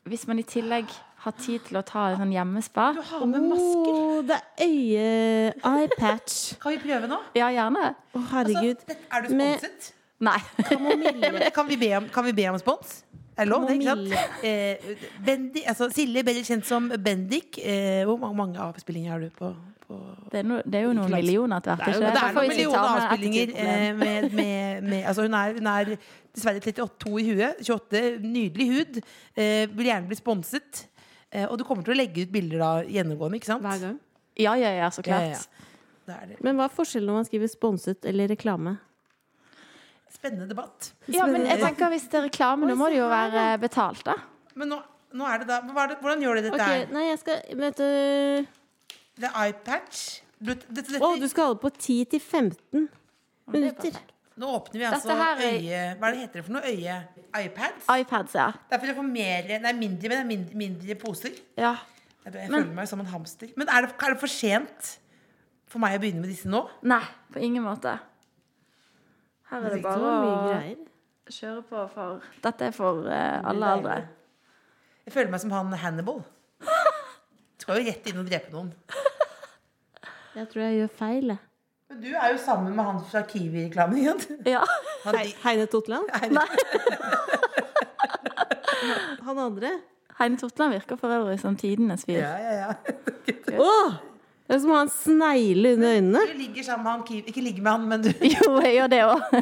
[SPEAKER 4] hvis man i tillegg har tid til å ta en sånn hjemmespa
[SPEAKER 2] Du har med masker.
[SPEAKER 3] Å, det er øye... Eye patch.
[SPEAKER 2] Kan vi prøve nå?
[SPEAKER 4] Ja,
[SPEAKER 3] Å,
[SPEAKER 4] gjerne.
[SPEAKER 2] Altså,
[SPEAKER 3] herregud.
[SPEAKER 2] dette- er du
[SPEAKER 3] Med-
[SPEAKER 2] sponset?
[SPEAKER 4] Nei.
[SPEAKER 2] Men Kan vi be om, kan vi be om spons? Er det lov, det, ikke sant? Eh, Bendik, altså Silje, bedre kjent som Bendik. Eh, hvor mange, mange avspillinger har du på, på
[SPEAKER 4] Det er, no, det er jo noen millioner til hvert.
[SPEAKER 3] Det er jo-
[SPEAKER 4] ikke
[SPEAKER 2] Og det er
[SPEAKER 4] Derfor
[SPEAKER 2] noen
[SPEAKER 4] vi ikke tar
[SPEAKER 2] millioner
[SPEAKER 4] med
[SPEAKER 2] avspillinger
[SPEAKER 4] attitydproblem.
[SPEAKER 2] eh, med, med, med Altså, hun er, hun er dessverre 32 i huet. 28, nydelig hud. Eh, vil gjerne bli sponset. Eh, og du kommer til å legge ut bilder da gjennomgående, ikke sant?
[SPEAKER 3] Hver gang.
[SPEAKER 4] Ja, ja, ja, så
[SPEAKER 2] Ja, ja,
[SPEAKER 4] klart.
[SPEAKER 2] ja. Det er det.
[SPEAKER 3] Men hva er forskjellen når man skriver 'sponset' eller 'reklame'?
[SPEAKER 2] Spennende debatt.
[SPEAKER 4] Ja, men jeg tenker hvis det er reklame, nå må det jo være betalt, da.
[SPEAKER 2] Men nå, nå er det da hva er det, Hvordan gjør du dette
[SPEAKER 3] Ok,
[SPEAKER 2] her?
[SPEAKER 3] nei, jeg skal vet du-
[SPEAKER 2] Det er iPatch. Du, dette, dette,
[SPEAKER 3] Å, du skal holde på 10 til 15 minutter.
[SPEAKER 2] Nå åpner vi altså
[SPEAKER 4] Dette her er-
[SPEAKER 2] øye... Hva er det heter det for noe? Øye... iPads?
[SPEAKER 4] iPads, ja.
[SPEAKER 2] Det er for å få mer Nei, mindre, men det er mindre, mindre poser.
[SPEAKER 4] ja.
[SPEAKER 2] Jeg, jeg føler meg som en hamster. Men er det, er det for sent for meg å begynne med disse nå?
[SPEAKER 4] Nei, på ingen måte. Her er det
[SPEAKER 3] Det
[SPEAKER 4] bare
[SPEAKER 3] var mye
[SPEAKER 4] å
[SPEAKER 3] greier.
[SPEAKER 4] kjøre på for Dette er for eh, alle aldre.
[SPEAKER 2] Jeg føler meg som han Hannibal. Skal jo rett inn og drepe noen.
[SPEAKER 3] Jeg tror jeg gjør feil, jeg.
[SPEAKER 2] Men du er jo sammen med han fra Kiwi-reklamen igjen.
[SPEAKER 4] Ja.
[SPEAKER 2] Han,
[SPEAKER 3] Hei- Heine Totland?
[SPEAKER 4] Nei.
[SPEAKER 3] Han andre?
[SPEAKER 4] Heine Totland virker for øvrig som tidenes fyr.
[SPEAKER 2] ja, ja, ja.
[SPEAKER 3] Å! Det er som å ha en snegle under øynene.
[SPEAKER 2] Du ligger sammen med han Kiwi. Ikke ligger med han, men du
[SPEAKER 4] Jo, jeg gjør det òg.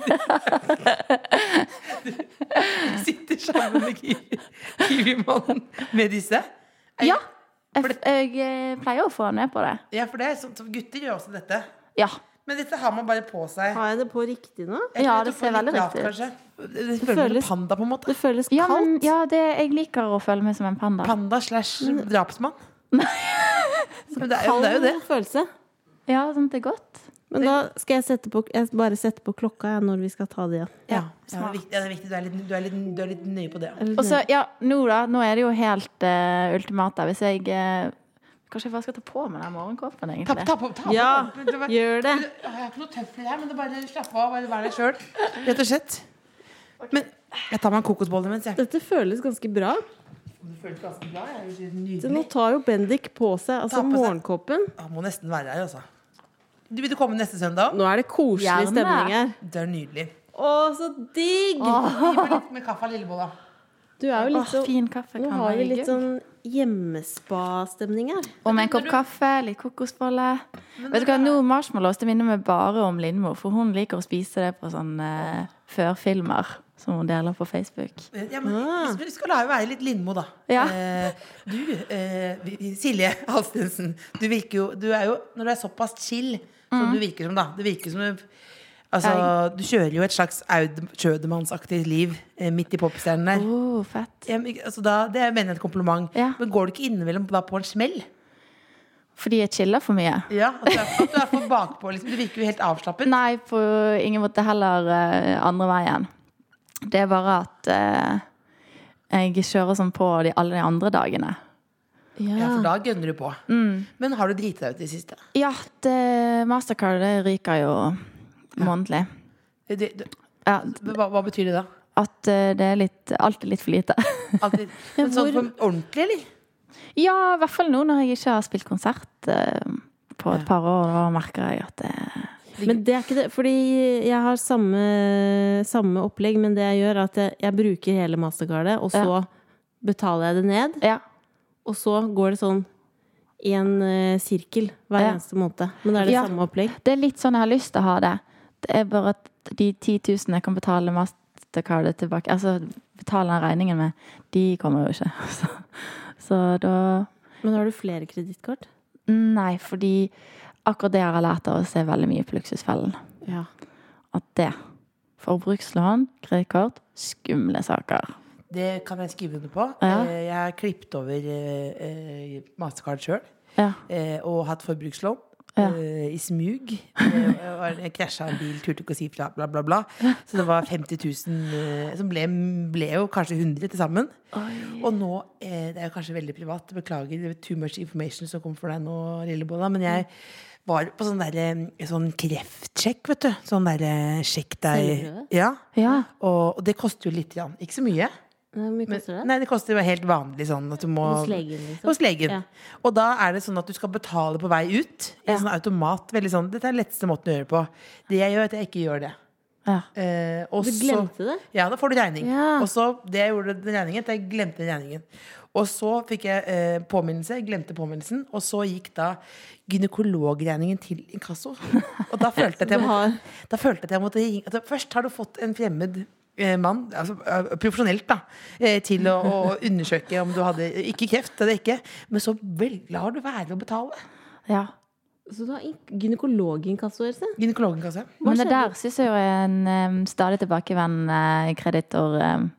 [SPEAKER 2] sitter sammen med Kiwi- Kiwi-mannen med disse.
[SPEAKER 4] Ja. Jeg, jeg eh, pleier å få han med på det.
[SPEAKER 2] Ja, for det er sånn som gutter gjør også dette.
[SPEAKER 4] Ja.
[SPEAKER 2] Men dette har man bare på seg.
[SPEAKER 3] Har jeg det på riktig nå?
[SPEAKER 2] Jeg tror
[SPEAKER 4] Ja,
[SPEAKER 2] jeg
[SPEAKER 4] det
[SPEAKER 2] tok på
[SPEAKER 4] ser
[SPEAKER 2] litt
[SPEAKER 4] veldig
[SPEAKER 2] lavt,
[SPEAKER 4] riktig
[SPEAKER 2] kanskje. Det føles
[SPEAKER 3] føles-
[SPEAKER 2] som panda, på en måte.
[SPEAKER 3] Det føles
[SPEAKER 4] Ja, men,
[SPEAKER 3] kaldt.
[SPEAKER 4] ja det, jeg liker å føle meg som en panda.
[SPEAKER 2] Panda slash drapsmann. Men det er jo det. Er jo det.
[SPEAKER 3] Kald følelse.
[SPEAKER 4] Ja, sånn at det er godt.
[SPEAKER 3] Men da skal jeg, sette på, jeg bare sette på klokka jeg, når vi skal ta det igjen.
[SPEAKER 2] Ja, det er viktig. Ja, det er viktig. Du, er litt, du, er litt, du er litt nøye på det.
[SPEAKER 3] Er det
[SPEAKER 4] Og så, ja, nå da, nå er det jo helt eh, ultimat der. Hvis jeg eh, Kanskje jeg bare skal ta på meg den morgenkåpen,
[SPEAKER 2] Ta,
[SPEAKER 4] egentlig.
[SPEAKER 2] ta på, ta på.
[SPEAKER 3] Ja,
[SPEAKER 2] Men det var-
[SPEAKER 3] gjør det.
[SPEAKER 2] Jeg har ikke noe tøfler her, men det er bare slapp av. Bare vær deg sjøl. Rett og slett. Men jeg tar meg en kokosbolle mens, jeg.
[SPEAKER 3] Dette føles ganske bra.
[SPEAKER 2] Det føles ganske bra. Jeg er jo helt
[SPEAKER 3] Så nå
[SPEAKER 2] nydelig.
[SPEAKER 3] tar jo Bendik på seg
[SPEAKER 2] Ta
[SPEAKER 3] altså
[SPEAKER 2] på seg.
[SPEAKER 3] morgenkåpen.
[SPEAKER 2] Jeg må nesten være her, altså. Du, vil du komme neste søndag?
[SPEAKER 3] Nå er det koselig
[SPEAKER 4] Gjerne.
[SPEAKER 3] stemning her.
[SPEAKER 2] Det er nydelig.
[SPEAKER 3] Å, så digg!
[SPEAKER 2] Gi meg litt med kaffe av lillebolla.
[SPEAKER 3] Du er jo
[SPEAKER 4] Åh,
[SPEAKER 3] litt sånn
[SPEAKER 4] fin kaffe
[SPEAKER 3] Nå
[SPEAKER 4] kan
[SPEAKER 3] har vi
[SPEAKER 4] være
[SPEAKER 3] litt
[SPEAKER 4] hyggelig.
[SPEAKER 3] sånn hjemmespa-stemning her.
[SPEAKER 4] Og med en kopp kaffe, litt kokosbolle. Vet du hva, nå marshmallows det minner meg bare om Lindmo, for hun liker å spise det på sånn eh, førfilmer. som hun deler på Facebook.
[SPEAKER 2] Ja, men Espen, vi skal la jo være litt Lindmo, da.
[SPEAKER 4] Ah. Ja.
[SPEAKER 2] Eh, du, eh, vi- Silje Halstensen, du virker jo Du er jo, når du er såpass chill som
[SPEAKER 4] Mm.
[SPEAKER 2] du virker som, da Det virker som du Altså, du kjører jo et slags Aud Schødemannsaktig liv eh, midt i popstjernen der.
[SPEAKER 4] Oh, fett.
[SPEAKER 2] Ja, men, altså, da, det mener jeg er et kompliment.
[SPEAKER 4] Ja.
[SPEAKER 2] Men går du ikke innimellom da på en smell?
[SPEAKER 4] Fordi jeg chiller for mye.
[SPEAKER 2] Ja, at du er, at du er for bakpå, liksom. Du virker jo helt avslappet.
[SPEAKER 4] Nei, på ingen måte heller eh, andre veien. Det er bare at eh, jeg kjører sånn på de, alle de andre dagene.
[SPEAKER 2] Ja, for da gønner du på.
[SPEAKER 4] Mm.
[SPEAKER 2] Men har du driti deg ut i det siste?
[SPEAKER 4] Ja, det, Mastercard det ryker jo månedlig.
[SPEAKER 2] Du, du,
[SPEAKER 4] Ja,
[SPEAKER 2] hva, hva betyr det da?
[SPEAKER 4] at eh, det er litt Alt er litt for lite.
[SPEAKER 2] Alltid, men sånn på ordentlig, eller?
[SPEAKER 4] ja, i hvert fall nå når jeg ikke har spilt konsert eh, på et par år. Da merker jeg at det
[SPEAKER 3] Men det er ikke det, fordi jeg har samme, samme opplegg, men det jeg gjør, er at jeg, jeg bruker hele mastercardet, og så betaler jeg det ned.
[SPEAKER 4] Ja.
[SPEAKER 3] Og så går det sånn i en eh, sirkel hver
[SPEAKER 4] Ja.
[SPEAKER 3] eneste måned. Men da er det
[SPEAKER 4] Ja.
[SPEAKER 3] samme opplegg.
[SPEAKER 4] Det er litt sånn jeg har lyst til å ha det. Det er bare at de 10 000 jeg kan betale Mastercardet tilbake Altså betale den regningen med, de kommer jo ikke. Så, så da
[SPEAKER 3] Men har du flere kredittkort?
[SPEAKER 4] Nei, fordi akkurat det jeg har lært av å se veldig mye på Luksusfellen.
[SPEAKER 3] Ja.
[SPEAKER 4] At det Forbrukslån, kredittkort, skumle saker.
[SPEAKER 2] Det kan jeg skrive under på.
[SPEAKER 4] Ja.
[SPEAKER 2] Eh, Jeg har klippet over eh, eh, Mastercard sjøl.
[SPEAKER 4] Ja.
[SPEAKER 2] Og hatt forbrukslån.
[SPEAKER 4] Ja.
[SPEAKER 2] eh, I smug. Eh, og Jeg krasja en bil, turte ikke å si fra, bla, bla, bla. Så det var 50 000, eh, som ble, ble jo kanskje 100 til sammen. Og nå eh, Det er jo kanskje veldig privat, beklager. Det er too much information som kommer for deg nå, Lillebolla. Men jeg var på sånn der, eh, sånn kreftsjekk, vet du. Sånn derre sjekk deg
[SPEAKER 3] Selvprøve?
[SPEAKER 2] Ja.
[SPEAKER 4] ja.
[SPEAKER 2] Og, og det koster jo litt, grann. ikke så mye.
[SPEAKER 3] Hvor mye
[SPEAKER 2] Men,
[SPEAKER 3] koster det?
[SPEAKER 2] nei, det koster jo helt vanlig sånn at du må
[SPEAKER 3] Hos legen, liksom?
[SPEAKER 2] Hos legen.
[SPEAKER 3] Ja.
[SPEAKER 2] Og da er det sånn at du skal betale på vei ut. I en sånn automat. Veldig sånn, Dette er den letteste måten å gjøre det på. Det jeg gjør, er at jeg ikke gjør det.
[SPEAKER 4] ja.
[SPEAKER 2] Eh, og
[SPEAKER 3] Du
[SPEAKER 2] så-
[SPEAKER 3] glemte det?
[SPEAKER 2] Ja, da får du regning.
[SPEAKER 3] Ja.
[SPEAKER 2] Og så det jeg gjorde den regningen, at jeg glemte den regningen. Og så fikk jeg eh, påminnelse, jeg glemte påminnelsen, og så gikk da gynekologregningen til inkasso. Og da følte jeg at jeg
[SPEAKER 3] Du har-
[SPEAKER 2] måtte, da følte jeg at jeg måtte ringe altså, Først har du fått en fremmed eh, mann, altså eh, profesjonelt, da, eh, til å, å undersøke om du hadde Ikke kreft, det er det ikke, men så vel, lar du være å betale.
[SPEAKER 4] ja.
[SPEAKER 3] Så du har ink- gynekologinnkasso, Else?
[SPEAKER 2] Gynekologen,
[SPEAKER 4] Men det der syns jeg jo er en em, stadig tilbakevendende kreditor em,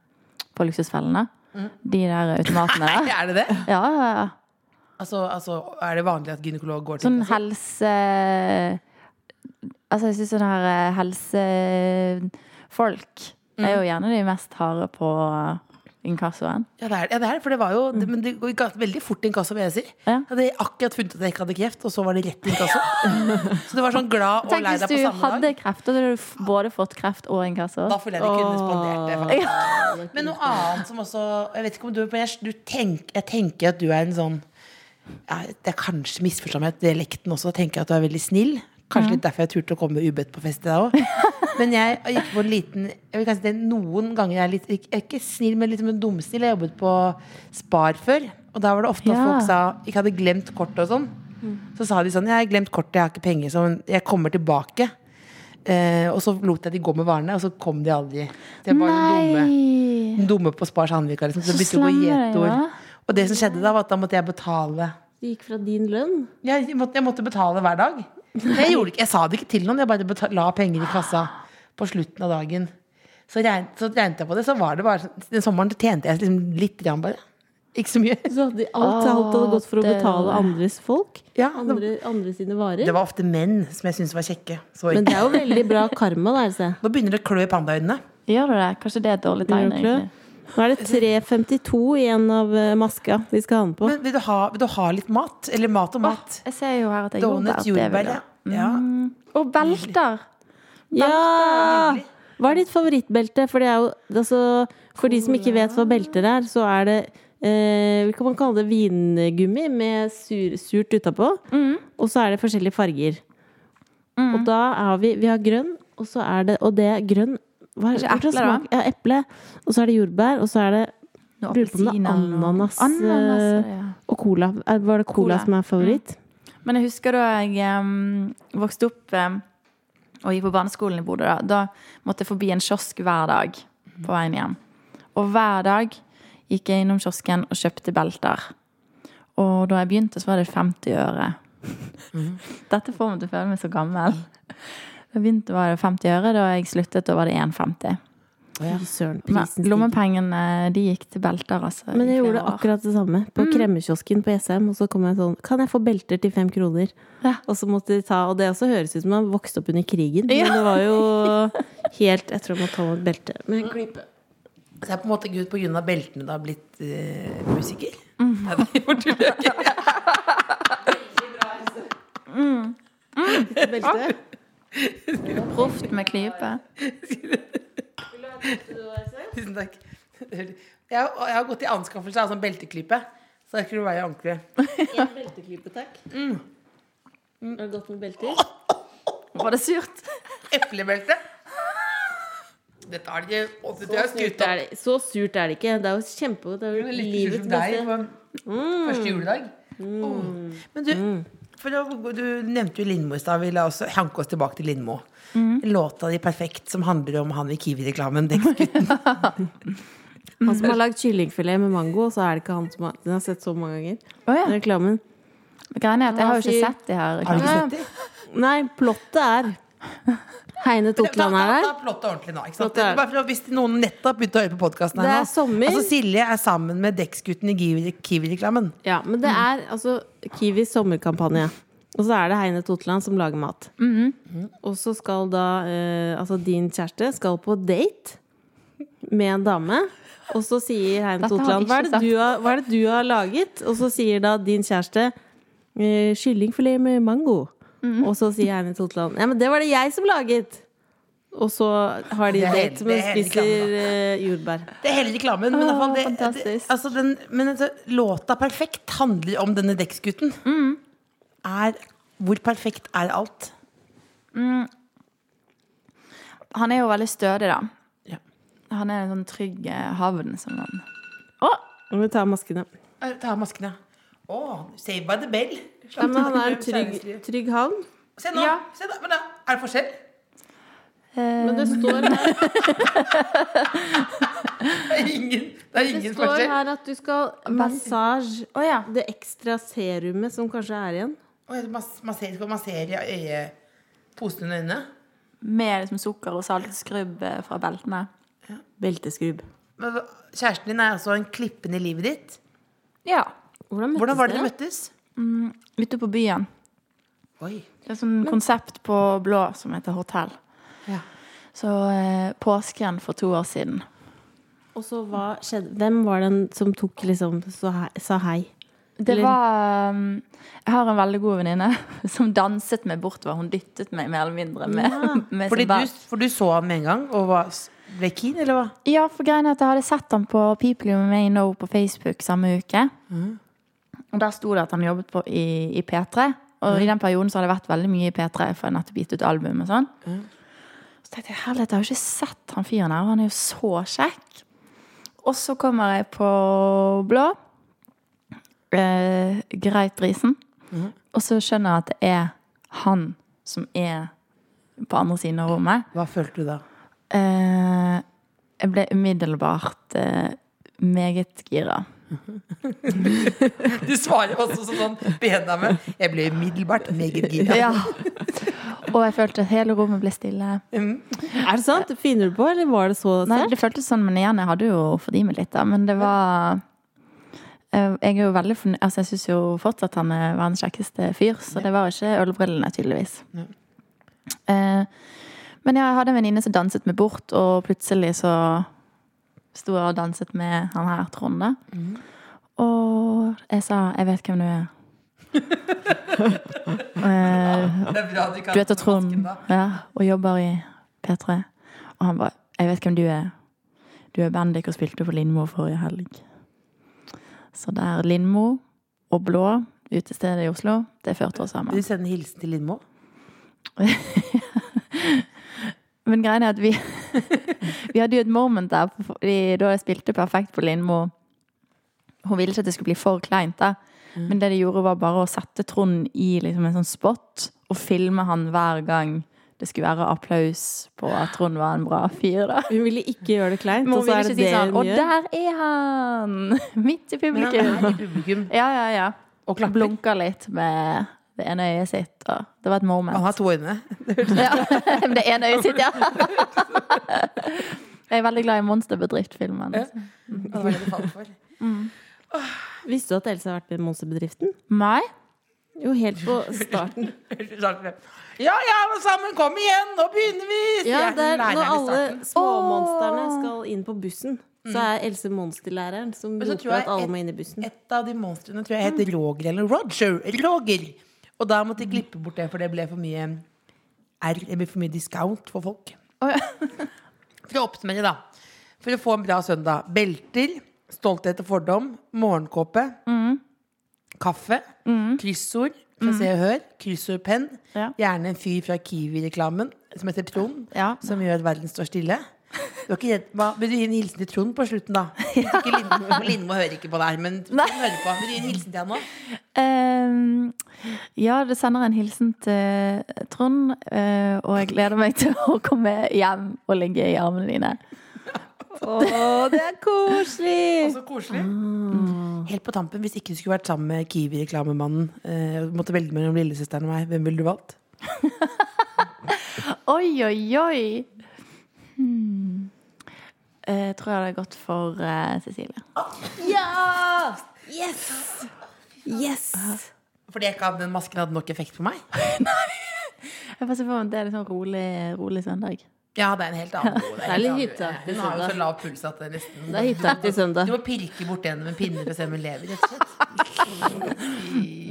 [SPEAKER 4] på Luksusfellene.
[SPEAKER 2] Mm.
[SPEAKER 4] De der automatene der.
[SPEAKER 2] Er det det?
[SPEAKER 4] Ja, ja, ja.
[SPEAKER 2] Altså, altså, er det vanlig at gynekolog går til
[SPEAKER 4] Sånn
[SPEAKER 2] inkasso?
[SPEAKER 4] helse Altså, jeg syns sånne her eh, helsefolk er
[SPEAKER 2] Mm.
[SPEAKER 4] jo gjerne de mest harde på inkassoen.
[SPEAKER 2] Ja, det er ja, det, er, det, for det var jo det, Men det gikk veldig fort inkasso, vil jeg si.
[SPEAKER 4] Mm. Ja.
[SPEAKER 2] Jeg hadde akkurat funnet at jeg ikke hadde kreft, og så var det rett inkasso. Så det var sånn glad og
[SPEAKER 4] Tenk
[SPEAKER 2] lei
[SPEAKER 4] hvis
[SPEAKER 2] deg
[SPEAKER 4] du
[SPEAKER 2] på samme
[SPEAKER 4] hadde
[SPEAKER 2] dag.
[SPEAKER 4] kreft, og du hadde f- både fått kreft og inkasso.
[SPEAKER 2] Da føler jeg de kunne spandert det. faktisk. Men noe annet som også Jeg vet ikke om du, men jeg, du tenk, jeg tenker at du er en sånn ja, Det er kanskje misforstått med dialekten også. Jeg tenker at du er veldig snill. Kanskje litt derfor jeg turte å komme ubedt på fest i dag òg. Men jeg gikk på en liten jeg vil kanskje si det er Noen ganger jeg er litt Jeg er ikke snill, men litt som en dumsnill. Jeg jobbet på Spar før, og da var det ofte at
[SPEAKER 4] Ja. Mm.
[SPEAKER 2] folk sa ikke hadde glemt kortet og sånn. Så sa de sånn Jeg har glemt kortet, jeg har ikke penger, så jeg kommer tilbake. Eh, og så lot jeg de gå med varene, og så kom de aldri. Det var jo dumme
[SPEAKER 4] Nei!
[SPEAKER 2] den dumme på Spars Handvika. Liksom, så
[SPEAKER 4] Så
[SPEAKER 2] bytte hun på
[SPEAKER 4] slemme det,
[SPEAKER 2] gjetord.
[SPEAKER 4] ja.
[SPEAKER 2] Og det som skjedde da, var at da måtte jeg betale.
[SPEAKER 3] Det gikk fra din lønn?
[SPEAKER 2] Jeg måtte, jeg måtte betale hver dag. Men Jeg, gjorde ikke, jeg sa det ikke til noen, jeg bare beta- la penger i kassa på slutten av dagen. Så regn- så regnet jeg på det, så var det bare sånn- Den sommeren tjente jeg liksom litt grann, bare. Ikke så mye.
[SPEAKER 3] Så hadde de- alt, alt hadde gått for å
[SPEAKER 4] det-
[SPEAKER 3] betale andres folk?
[SPEAKER 2] Ja, det-
[SPEAKER 3] andre, andre sine varer?
[SPEAKER 2] Det var ofte menn som jeg syntes var kjekke. Så
[SPEAKER 3] Men det er jo veldig bra karma, da, Else.
[SPEAKER 2] nå begynner det å klø i pandaøynene.
[SPEAKER 4] Gjør du det? Kanskje det er et dårlig tegn? egentlig?
[SPEAKER 3] Nå er det 3.52 igjen av eh, maska vi skal ha den på.
[SPEAKER 2] Men vil du, ha, vil du ha litt mat? Eller mat og mat?
[SPEAKER 4] Jeg ser jo her at det er
[SPEAKER 2] Donuts,
[SPEAKER 4] jordbær. det vil
[SPEAKER 2] jordbær. ja.
[SPEAKER 4] jeg.
[SPEAKER 2] Ja.
[SPEAKER 4] Og belter!
[SPEAKER 3] Ja! Hva er ditt favorittbelte? For, det er jo, altså, for de som ikke vet hva belter er, så er det eh, Vi kan man kalle det vingummi med sur, surt utapå.
[SPEAKER 4] Mm.
[SPEAKER 3] Og så er det forskjellige farger. Og da har vi Vi har grønn, og så er det Og det er grønn hva er,
[SPEAKER 4] Kanskje
[SPEAKER 3] hva
[SPEAKER 4] eple,
[SPEAKER 3] slags smak? Ja, eple. Og så er det jordbær, og så er det Lurer på
[SPEAKER 4] Noe
[SPEAKER 3] om det er
[SPEAKER 4] appelsiner og-
[SPEAKER 3] ananas,
[SPEAKER 4] Ananas, er
[SPEAKER 3] eh,
[SPEAKER 4] det, ja.
[SPEAKER 3] Og cola. Er- Var det cola,
[SPEAKER 4] Cola. Mm.
[SPEAKER 3] som er favoritt?
[SPEAKER 4] Men jeg husker da jeg em, vokste opp em, og gikk på barneskolen i Bodø, da, da måtte jeg forbi en kiosk hver dag. på veien hjem. Og hver dag gikk jeg innom kiosken og kjøpte belter. Og da jeg begynte, så var det 50 øre.
[SPEAKER 3] Mhm.
[SPEAKER 4] Dette får meg til å føle meg så gammel. Da jeg begynte, var det 50 øre. Da jeg sluttet, da var det 1,50.
[SPEAKER 3] Fy søren,
[SPEAKER 4] Men
[SPEAKER 3] prisen stiger.
[SPEAKER 4] Lommepengene de gikk til belter, altså.
[SPEAKER 3] Men
[SPEAKER 4] i
[SPEAKER 3] jeg
[SPEAKER 4] flere
[SPEAKER 3] gjorde
[SPEAKER 4] år. Mm.
[SPEAKER 3] akkurat det samme på kremmekiosken på SM. Og så kom jeg sånn Kan jeg få belter til fem kroner?
[SPEAKER 4] Ja.
[SPEAKER 3] Og så måtte de ta Og det også høres ut som man vokste opp under krigen. Men
[SPEAKER 4] Ja.
[SPEAKER 3] det var jo helt Jeg tror man tar et belte med en klype.
[SPEAKER 2] Så det er på en måte Gud på grunn av beltene da blitt eh, musiker? Nei, det var tull. Ah.
[SPEAKER 3] Belte.
[SPEAKER 4] Proft med klype.
[SPEAKER 2] Tusen takk. Jeg, har- jeg har gått i anskaffelse av sånn belteklype. Så det skulle være ordentlig.
[SPEAKER 3] En belteklype, takk.
[SPEAKER 2] Mm.
[SPEAKER 3] Mm, Er det godt med belter?
[SPEAKER 4] Var det surt?
[SPEAKER 2] Eplebelte. Dette er det ikke Å, det
[SPEAKER 3] Så
[SPEAKER 2] er
[SPEAKER 3] surt,
[SPEAKER 2] skuta.
[SPEAKER 3] er det, så surt er det ikke. Det er jo kjempe Det er jo livets
[SPEAKER 2] deg
[SPEAKER 3] beste.
[SPEAKER 2] på
[SPEAKER 3] Mm.
[SPEAKER 2] første juledag. Åh. Men du, for å, du nevnte jo Lindmo i stad. Vi la oss hanke oss tilbake til Lindmo.
[SPEAKER 3] Mm.
[SPEAKER 2] Låta di 'Perfekt' som handler om han i Kiwi-reklamen. Det-
[SPEAKER 3] Han som har lagd kyllingfilet med mango, og så er det ikke han som har Den har jeg sett så mange ganger.
[SPEAKER 4] Å ja.
[SPEAKER 3] Den reklamen.
[SPEAKER 4] Greia er at jeg har jo ikke
[SPEAKER 3] Sier-
[SPEAKER 4] sett de her.
[SPEAKER 2] Har du
[SPEAKER 4] reklamene.
[SPEAKER 2] ikke
[SPEAKER 3] Ja.
[SPEAKER 2] sett det?
[SPEAKER 3] Nei, plottet er
[SPEAKER 2] Da,
[SPEAKER 3] Heine Totland
[SPEAKER 2] da, da
[SPEAKER 3] er der.
[SPEAKER 2] er plottet ordentlig nå. Ikke sant?
[SPEAKER 3] Plottet er-
[SPEAKER 2] Bare for, å- hvis noen nettopp begynte å høre på podkasten
[SPEAKER 3] Det er sommer.
[SPEAKER 2] Altså, Silje er sammen med Dex-gutten i Kiwi- Kiwi-reklamen.
[SPEAKER 3] Ja, men det
[SPEAKER 4] Mm.
[SPEAKER 3] er altså Kiwis sommerkampanje. Og så er det Heine Totland som lager mat.
[SPEAKER 4] Mm-hmm.
[SPEAKER 3] Og så skal da eh, Altså, din kjæreste skal på date med en dame. Og så sier Heine
[SPEAKER 4] Dette har
[SPEAKER 3] Totland
[SPEAKER 4] vi
[SPEAKER 3] hva
[SPEAKER 4] ikke
[SPEAKER 3] er, det du har, 'Hva er det du har laget?' Og så sier da din kjæreste eh, 'Kyllingfilet med mango'.
[SPEAKER 4] Mm-hmm.
[SPEAKER 3] Og så sier Heine Totland 'Ja, men det var det jeg som laget'. Og så har de
[SPEAKER 2] Det er
[SPEAKER 3] date,
[SPEAKER 2] hele-
[SPEAKER 3] men
[SPEAKER 2] det er hele
[SPEAKER 3] spiser eh, jordbær.
[SPEAKER 2] Det er hele reklamen. Men, i hvert fall
[SPEAKER 4] Åh,
[SPEAKER 2] det, det,
[SPEAKER 4] fantastisk.
[SPEAKER 2] altså den, men altså, låta 'Perfekt' handler om denne Dex-gutten.
[SPEAKER 3] Mm.
[SPEAKER 2] Er Hvor perfekt er alt?
[SPEAKER 4] Han er jo veldig stødig, da.
[SPEAKER 2] Ja.
[SPEAKER 4] Han er en sånn trygg eh, havn. Som han.
[SPEAKER 3] Å! Nå må vi ta av maskene.
[SPEAKER 2] Eh, Ta av maskene. Å, save by the bell.
[SPEAKER 3] Ja, men han er en trygg, trygg havn.
[SPEAKER 2] Se nå.
[SPEAKER 4] Ja.
[SPEAKER 2] Se da, men da, er det forskjell?
[SPEAKER 3] Men det står her
[SPEAKER 2] Det er ingen, det er
[SPEAKER 3] Det
[SPEAKER 2] ingen
[SPEAKER 3] står
[SPEAKER 2] forskjell.
[SPEAKER 3] her at du skal massasje
[SPEAKER 4] Å ja.
[SPEAKER 3] det ekstra serumet som kanskje er igjen.
[SPEAKER 2] Oi, mas- Massere, skal massere i øyet, posen under øynene.
[SPEAKER 4] Med liksom sukker og saltskrubb eh, fra beltene.
[SPEAKER 3] Belteskrubb.
[SPEAKER 2] Men hva- Kjæresten din er altså en klippen i livet ditt.
[SPEAKER 4] Ja.
[SPEAKER 3] Hvordan, møttes
[SPEAKER 2] Hvordan var det dere
[SPEAKER 3] dere?
[SPEAKER 2] møttes?
[SPEAKER 4] Ute på byen.
[SPEAKER 2] Oi.
[SPEAKER 4] Det er sånn konsept på blå som heter hotell.
[SPEAKER 2] Ja.
[SPEAKER 4] Så eh, påsken for to år siden.
[SPEAKER 3] Og så hva skjedde? Hvem var den som tok liksom så hei, sa hei?
[SPEAKER 4] Det
[SPEAKER 3] Eller-
[SPEAKER 4] var um, Jeg har en veldig god venninne som danset meg bortover. Hun dyttet meg mer eller mindre med, med
[SPEAKER 2] Fordi du,
[SPEAKER 4] sin belt.
[SPEAKER 2] for du så han med en gang og var, ble keen, eller hva?
[SPEAKER 4] Ja, for greien er at jeg hadde sett han på People You May Know på Facebook samme uke. Og der sto det at han jobbet på, i, i P3. Og i den perioden så hadde jeg vært veldig mye i P3, for jeg hadde nettopp gitt ut album og sånn. Så tenkte jeg herlighet, jeg har jo ikke sett han fyren her, og han er jo så kjekk. Og så kommer jeg på blå. Eh, greit risen. Og så skjønner jeg at det er han som er på andre siden av rommet.
[SPEAKER 2] Hva følte du da?
[SPEAKER 4] Eh, jeg ble umiddelbart eh, meget gira.
[SPEAKER 2] Du svarer også som sånn bedame. Jeg ble umiddelbart meget gira.
[SPEAKER 4] Og jeg følte at hele rommet ble stille.
[SPEAKER 3] Er det sant? Finner du på, eller var det så
[SPEAKER 4] Nei,
[SPEAKER 3] sært?
[SPEAKER 4] det føltes sånn, men igjen, jeg hadde jo fordrivet meg litt, da. Men det var eh, Jeg er jo veldig fornøyd Altså, jeg syns jo fortsatt han er verdens kjekkeste fyr, så det var ikke ølbrillene, tydeligvis. Eh, men ja, jeg hadde en venninne som danset meg bort, og plutselig så sto jeg og danset med han her, Trond, da. Og jeg sa 'jeg vet hvem du er'.
[SPEAKER 2] Det er bra du kan
[SPEAKER 4] Du
[SPEAKER 2] ta
[SPEAKER 4] heter
[SPEAKER 2] masken
[SPEAKER 4] Trond
[SPEAKER 2] da.
[SPEAKER 4] ja, og jobber i P3. Og han bare 'Jeg vet hvem du er'. Du er Bendik og spilte for Lindmo forrige helg. Så det er Lindmo og Blå, utestedet i Oslo, det førte oss
[SPEAKER 2] Vil
[SPEAKER 4] sammen.
[SPEAKER 2] du sende hilsen til Lindmo?
[SPEAKER 4] Men greia er at vi Vi hadde jo et moment der fordi da jeg spilte perfekt på Lindmo. Hun ville ikke at det skulle bli for kleint, da. Men det de gjorde, var bare å sette Trond i liksom en sånn spot og filme han hver gang det det skulle være applaus på at Trond var en bra fyr, da.
[SPEAKER 3] Hun ville ikke gjøre det kleint,
[SPEAKER 4] Men
[SPEAKER 3] og
[SPEAKER 4] hun
[SPEAKER 3] så
[SPEAKER 4] ville
[SPEAKER 3] er det
[SPEAKER 4] ikke si
[SPEAKER 3] det
[SPEAKER 4] sånn
[SPEAKER 3] hun
[SPEAKER 4] Og
[SPEAKER 3] gjør.
[SPEAKER 4] der er han! Midt i
[SPEAKER 2] Men han er i
[SPEAKER 4] publikum.
[SPEAKER 2] publikum.
[SPEAKER 4] Ja, ja, ja. Og Blunka litt med det ene øyet sitt. Og det var et moment.
[SPEAKER 2] Han har to øyne.
[SPEAKER 4] Ja, med det ene øyet sitt, ja. Jeg er veldig glad i altså. monsterbedriftfilmen.
[SPEAKER 2] Det var det det falt for.
[SPEAKER 3] Visste du at Else har vært med i Monsterbedriften?
[SPEAKER 4] Nei?
[SPEAKER 3] Jo, helt på starten.
[SPEAKER 2] Ja, ja, alle sammen, kom igjen! Nå begynner vi! sier
[SPEAKER 3] Ja,
[SPEAKER 2] jeg
[SPEAKER 3] det er
[SPEAKER 2] til læreren
[SPEAKER 3] når
[SPEAKER 2] i
[SPEAKER 3] alle
[SPEAKER 2] starten.
[SPEAKER 3] småmonstrene skal inn på bussen, så er Else monsterlæreren som
[SPEAKER 2] Men så tror jeg
[SPEAKER 3] roper at alle
[SPEAKER 2] et-
[SPEAKER 3] må inn i bussen.
[SPEAKER 2] Et av de monstrene tror jeg heter Roger eller Roger. Roger! Og da måtte jeg klippe bort det, for det ble for mye R. Det ble for mye discount for folk. For å oppsummere, da. For å få en bra søndag. Belter, stolthet og fordom, morgenkåpe, kaffe, kryssord fra Se og Hør, kryssordpenn,
[SPEAKER 4] Ja.
[SPEAKER 2] gjerne en fyr fra Kiwi-reklamen som heter Trond,
[SPEAKER 4] Ja.
[SPEAKER 2] som gjør at verden står stille. Du var ikke redd Hva, Vil du gi en hilsen til Trond på slutten, da? Ikke Lindmo, Lindmo hører ikke på der, men Trond hører på. Vil du gi en hilsen til han nå?
[SPEAKER 4] Ehm, ja, det sender en hilsen til Trond, eh, og jeg gleder meg til å komme hjem og ligge i armene dine.
[SPEAKER 3] Å, det er koselig!
[SPEAKER 2] Så koselig. Mm. Helt på tampen, hvis ikke du skulle vært sammen med Kiwi-reklamemannen, eh, og måtte velge mellom lillesøsteren og meg, hvem ville du valgt?
[SPEAKER 4] Oi, oi, oi! Hmm. Eh, Jeg tror jeg hadde gått for eh, Cecilie.
[SPEAKER 3] Ja! Yes! Yes!
[SPEAKER 2] Fordi jeg ikke hadde den masken hadde nok effekt på meg?
[SPEAKER 4] Jeg får se for meg at Det er litt sånn rolig, rolig søndag.
[SPEAKER 2] Ja, det er en helt annen god.
[SPEAKER 3] Det er litt hytteaktig
[SPEAKER 2] Hun har jo så
[SPEAKER 3] søndag.
[SPEAKER 2] lav puls at det nesten
[SPEAKER 3] Det er hytteaktig
[SPEAKER 2] Du
[SPEAKER 3] søndag.
[SPEAKER 2] må pirke bort gjennom en pinne for å se om hun lever, rett og slett.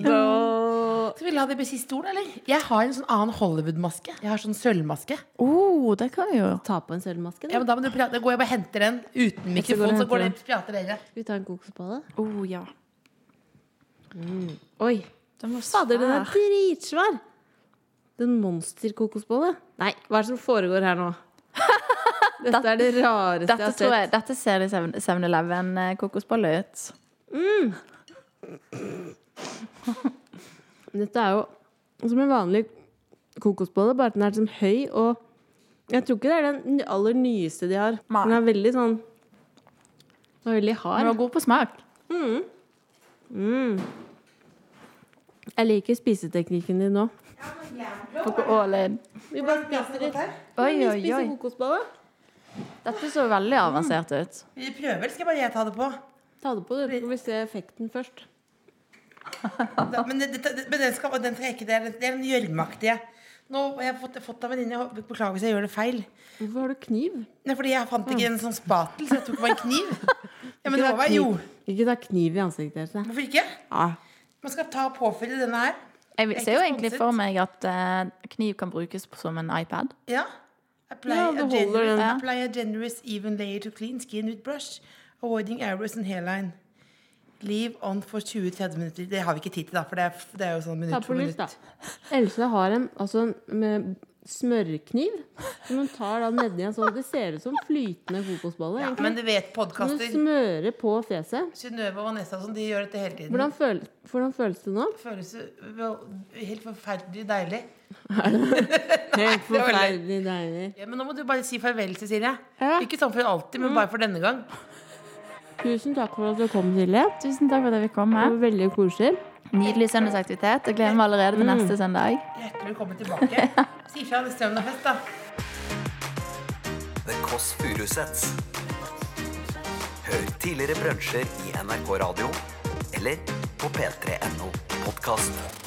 [SPEAKER 2] Skal vi la det bli siste ord, eller? Jeg har en sånn annen Hollywood-maske. Jeg har sånn sølvmaske.
[SPEAKER 4] Oh, det kan vi jo.
[SPEAKER 3] Ta på en sølvmaske,
[SPEAKER 2] Ja,
[SPEAKER 3] da.
[SPEAKER 2] men da må du prate. Da går jeg bare og henter den uten
[SPEAKER 3] Jeg skal
[SPEAKER 2] mikrofon,
[SPEAKER 3] gå og
[SPEAKER 2] så
[SPEAKER 3] hente
[SPEAKER 2] går
[SPEAKER 3] den.
[SPEAKER 2] det og prater dere.
[SPEAKER 3] Skal vi ta en kokosbolle?
[SPEAKER 4] Oh, ja.
[SPEAKER 3] Oi!
[SPEAKER 4] Den var
[SPEAKER 3] Fader, den
[SPEAKER 4] Ah.
[SPEAKER 3] er dritsvær! Den monsterkokosbolle. Nei, hva er det som foregår her nå? Dette er det rareste
[SPEAKER 4] Dette,
[SPEAKER 3] jeg
[SPEAKER 4] tror
[SPEAKER 3] har
[SPEAKER 4] jeg, dette ser litt 7-Eleven-kokosbolle eh, ut.
[SPEAKER 3] sett. Dette er jo som en vanlig kokosbolle, bare at den er liksom høy og Jeg tror ikke det er den ny- aller nyeste de har.
[SPEAKER 2] Nei.
[SPEAKER 3] Den er veldig sånn Den er veldig
[SPEAKER 4] Den var
[SPEAKER 3] hard.
[SPEAKER 4] god på smak.
[SPEAKER 3] Jeg liker spiseteknikken din nå.
[SPEAKER 4] Tok all in.
[SPEAKER 3] Vi bare spiser litt.
[SPEAKER 4] Oi,
[SPEAKER 3] Vi
[SPEAKER 4] oi,
[SPEAKER 3] spiser
[SPEAKER 4] oi.
[SPEAKER 3] kokosbolle.
[SPEAKER 4] Dette så veldig avansert ut.
[SPEAKER 2] Vi prøver, eller skal bare jeg ta det på?
[SPEAKER 3] Ta det på, så får vi se effekten først.
[SPEAKER 2] Da- Men, det, det, det, men den, skal, den skal jeg ikke Det er den- det er den gjørmeaktige. Nå har jeg fått, fått av venninne. jeg Beklager hvis jeg gjør det feil.
[SPEAKER 3] Hvorfor har du kniv?
[SPEAKER 2] Nei, fordi jeg fant ikke en sånn spatel, så jeg tok bare en kniv. Ja, men det
[SPEAKER 3] Ikke
[SPEAKER 2] var
[SPEAKER 3] ta
[SPEAKER 2] bare, jo,
[SPEAKER 3] kniv- Ikke ta kniv i ansiktet deres. nei.
[SPEAKER 2] hvorfor ikke?
[SPEAKER 3] Ah.
[SPEAKER 2] Man skal ta og påfylle denne her.
[SPEAKER 4] Jeg ser jo egentlig for meg at eh, kniv kan brukes som en iPad.
[SPEAKER 2] Ja. Apply,
[SPEAKER 3] Ja,
[SPEAKER 2] a
[SPEAKER 3] du holder
[SPEAKER 2] generous,
[SPEAKER 3] den.
[SPEAKER 2] apply a generous even layer to clean skin with brush. Avoiding errors and hairline. Leave on for 20-30 minutter. Det har vi ikke tid til, da, for det er, det er jo sånn
[SPEAKER 3] Ta
[SPEAKER 2] minutt
[SPEAKER 3] på
[SPEAKER 2] for minutt.
[SPEAKER 3] nytt, da. Else har en altså, med smørkniv som hun tar da nedi en sånn Det ser ut som flytende kokosbolle.
[SPEAKER 2] Ja,
[SPEAKER 3] egentlig.
[SPEAKER 2] men du vet
[SPEAKER 3] Som du
[SPEAKER 2] podkaster.
[SPEAKER 3] smører på fjeset.
[SPEAKER 2] Synnøve og Vanessa og sånn, de gjør dette hele tiden.
[SPEAKER 3] Hvordan, føl hvordan føles det nå?
[SPEAKER 2] Føles jo vel- helt forferdelig deilig.
[SPEAKER 3] Helt
[SPEAKER 2] var leit.
[SPEAKER 3] forferdelig deilig.
[SPEAKER 2] Ja, men nå må du bare si farvel, Cecilie.
[SPEAKER 3] Ja. Mm.
[SPEAKER 2] Ikke sånn for alltid, men bare for denne gang.
[SPEAKER 3] Tusen takk for at du kom, Silje.
[SPEAKER 4] Tusen takk for at jeg fikk komme.
[SPEAKER 3] Det var veldig koselig.
[SPEAKER 4] Nydelig søndagsaktivitet. Jeg gleder meg allerede til neste søndag.
[SPEAKER 2] Hjertelig velkommen tilbake. Si fra hvis strømmen er fest, da.
[SPEAKER 1] The Kåss Furuseths. Hør tidligere brunsjer i NRK Radio eller på p3.no podkast.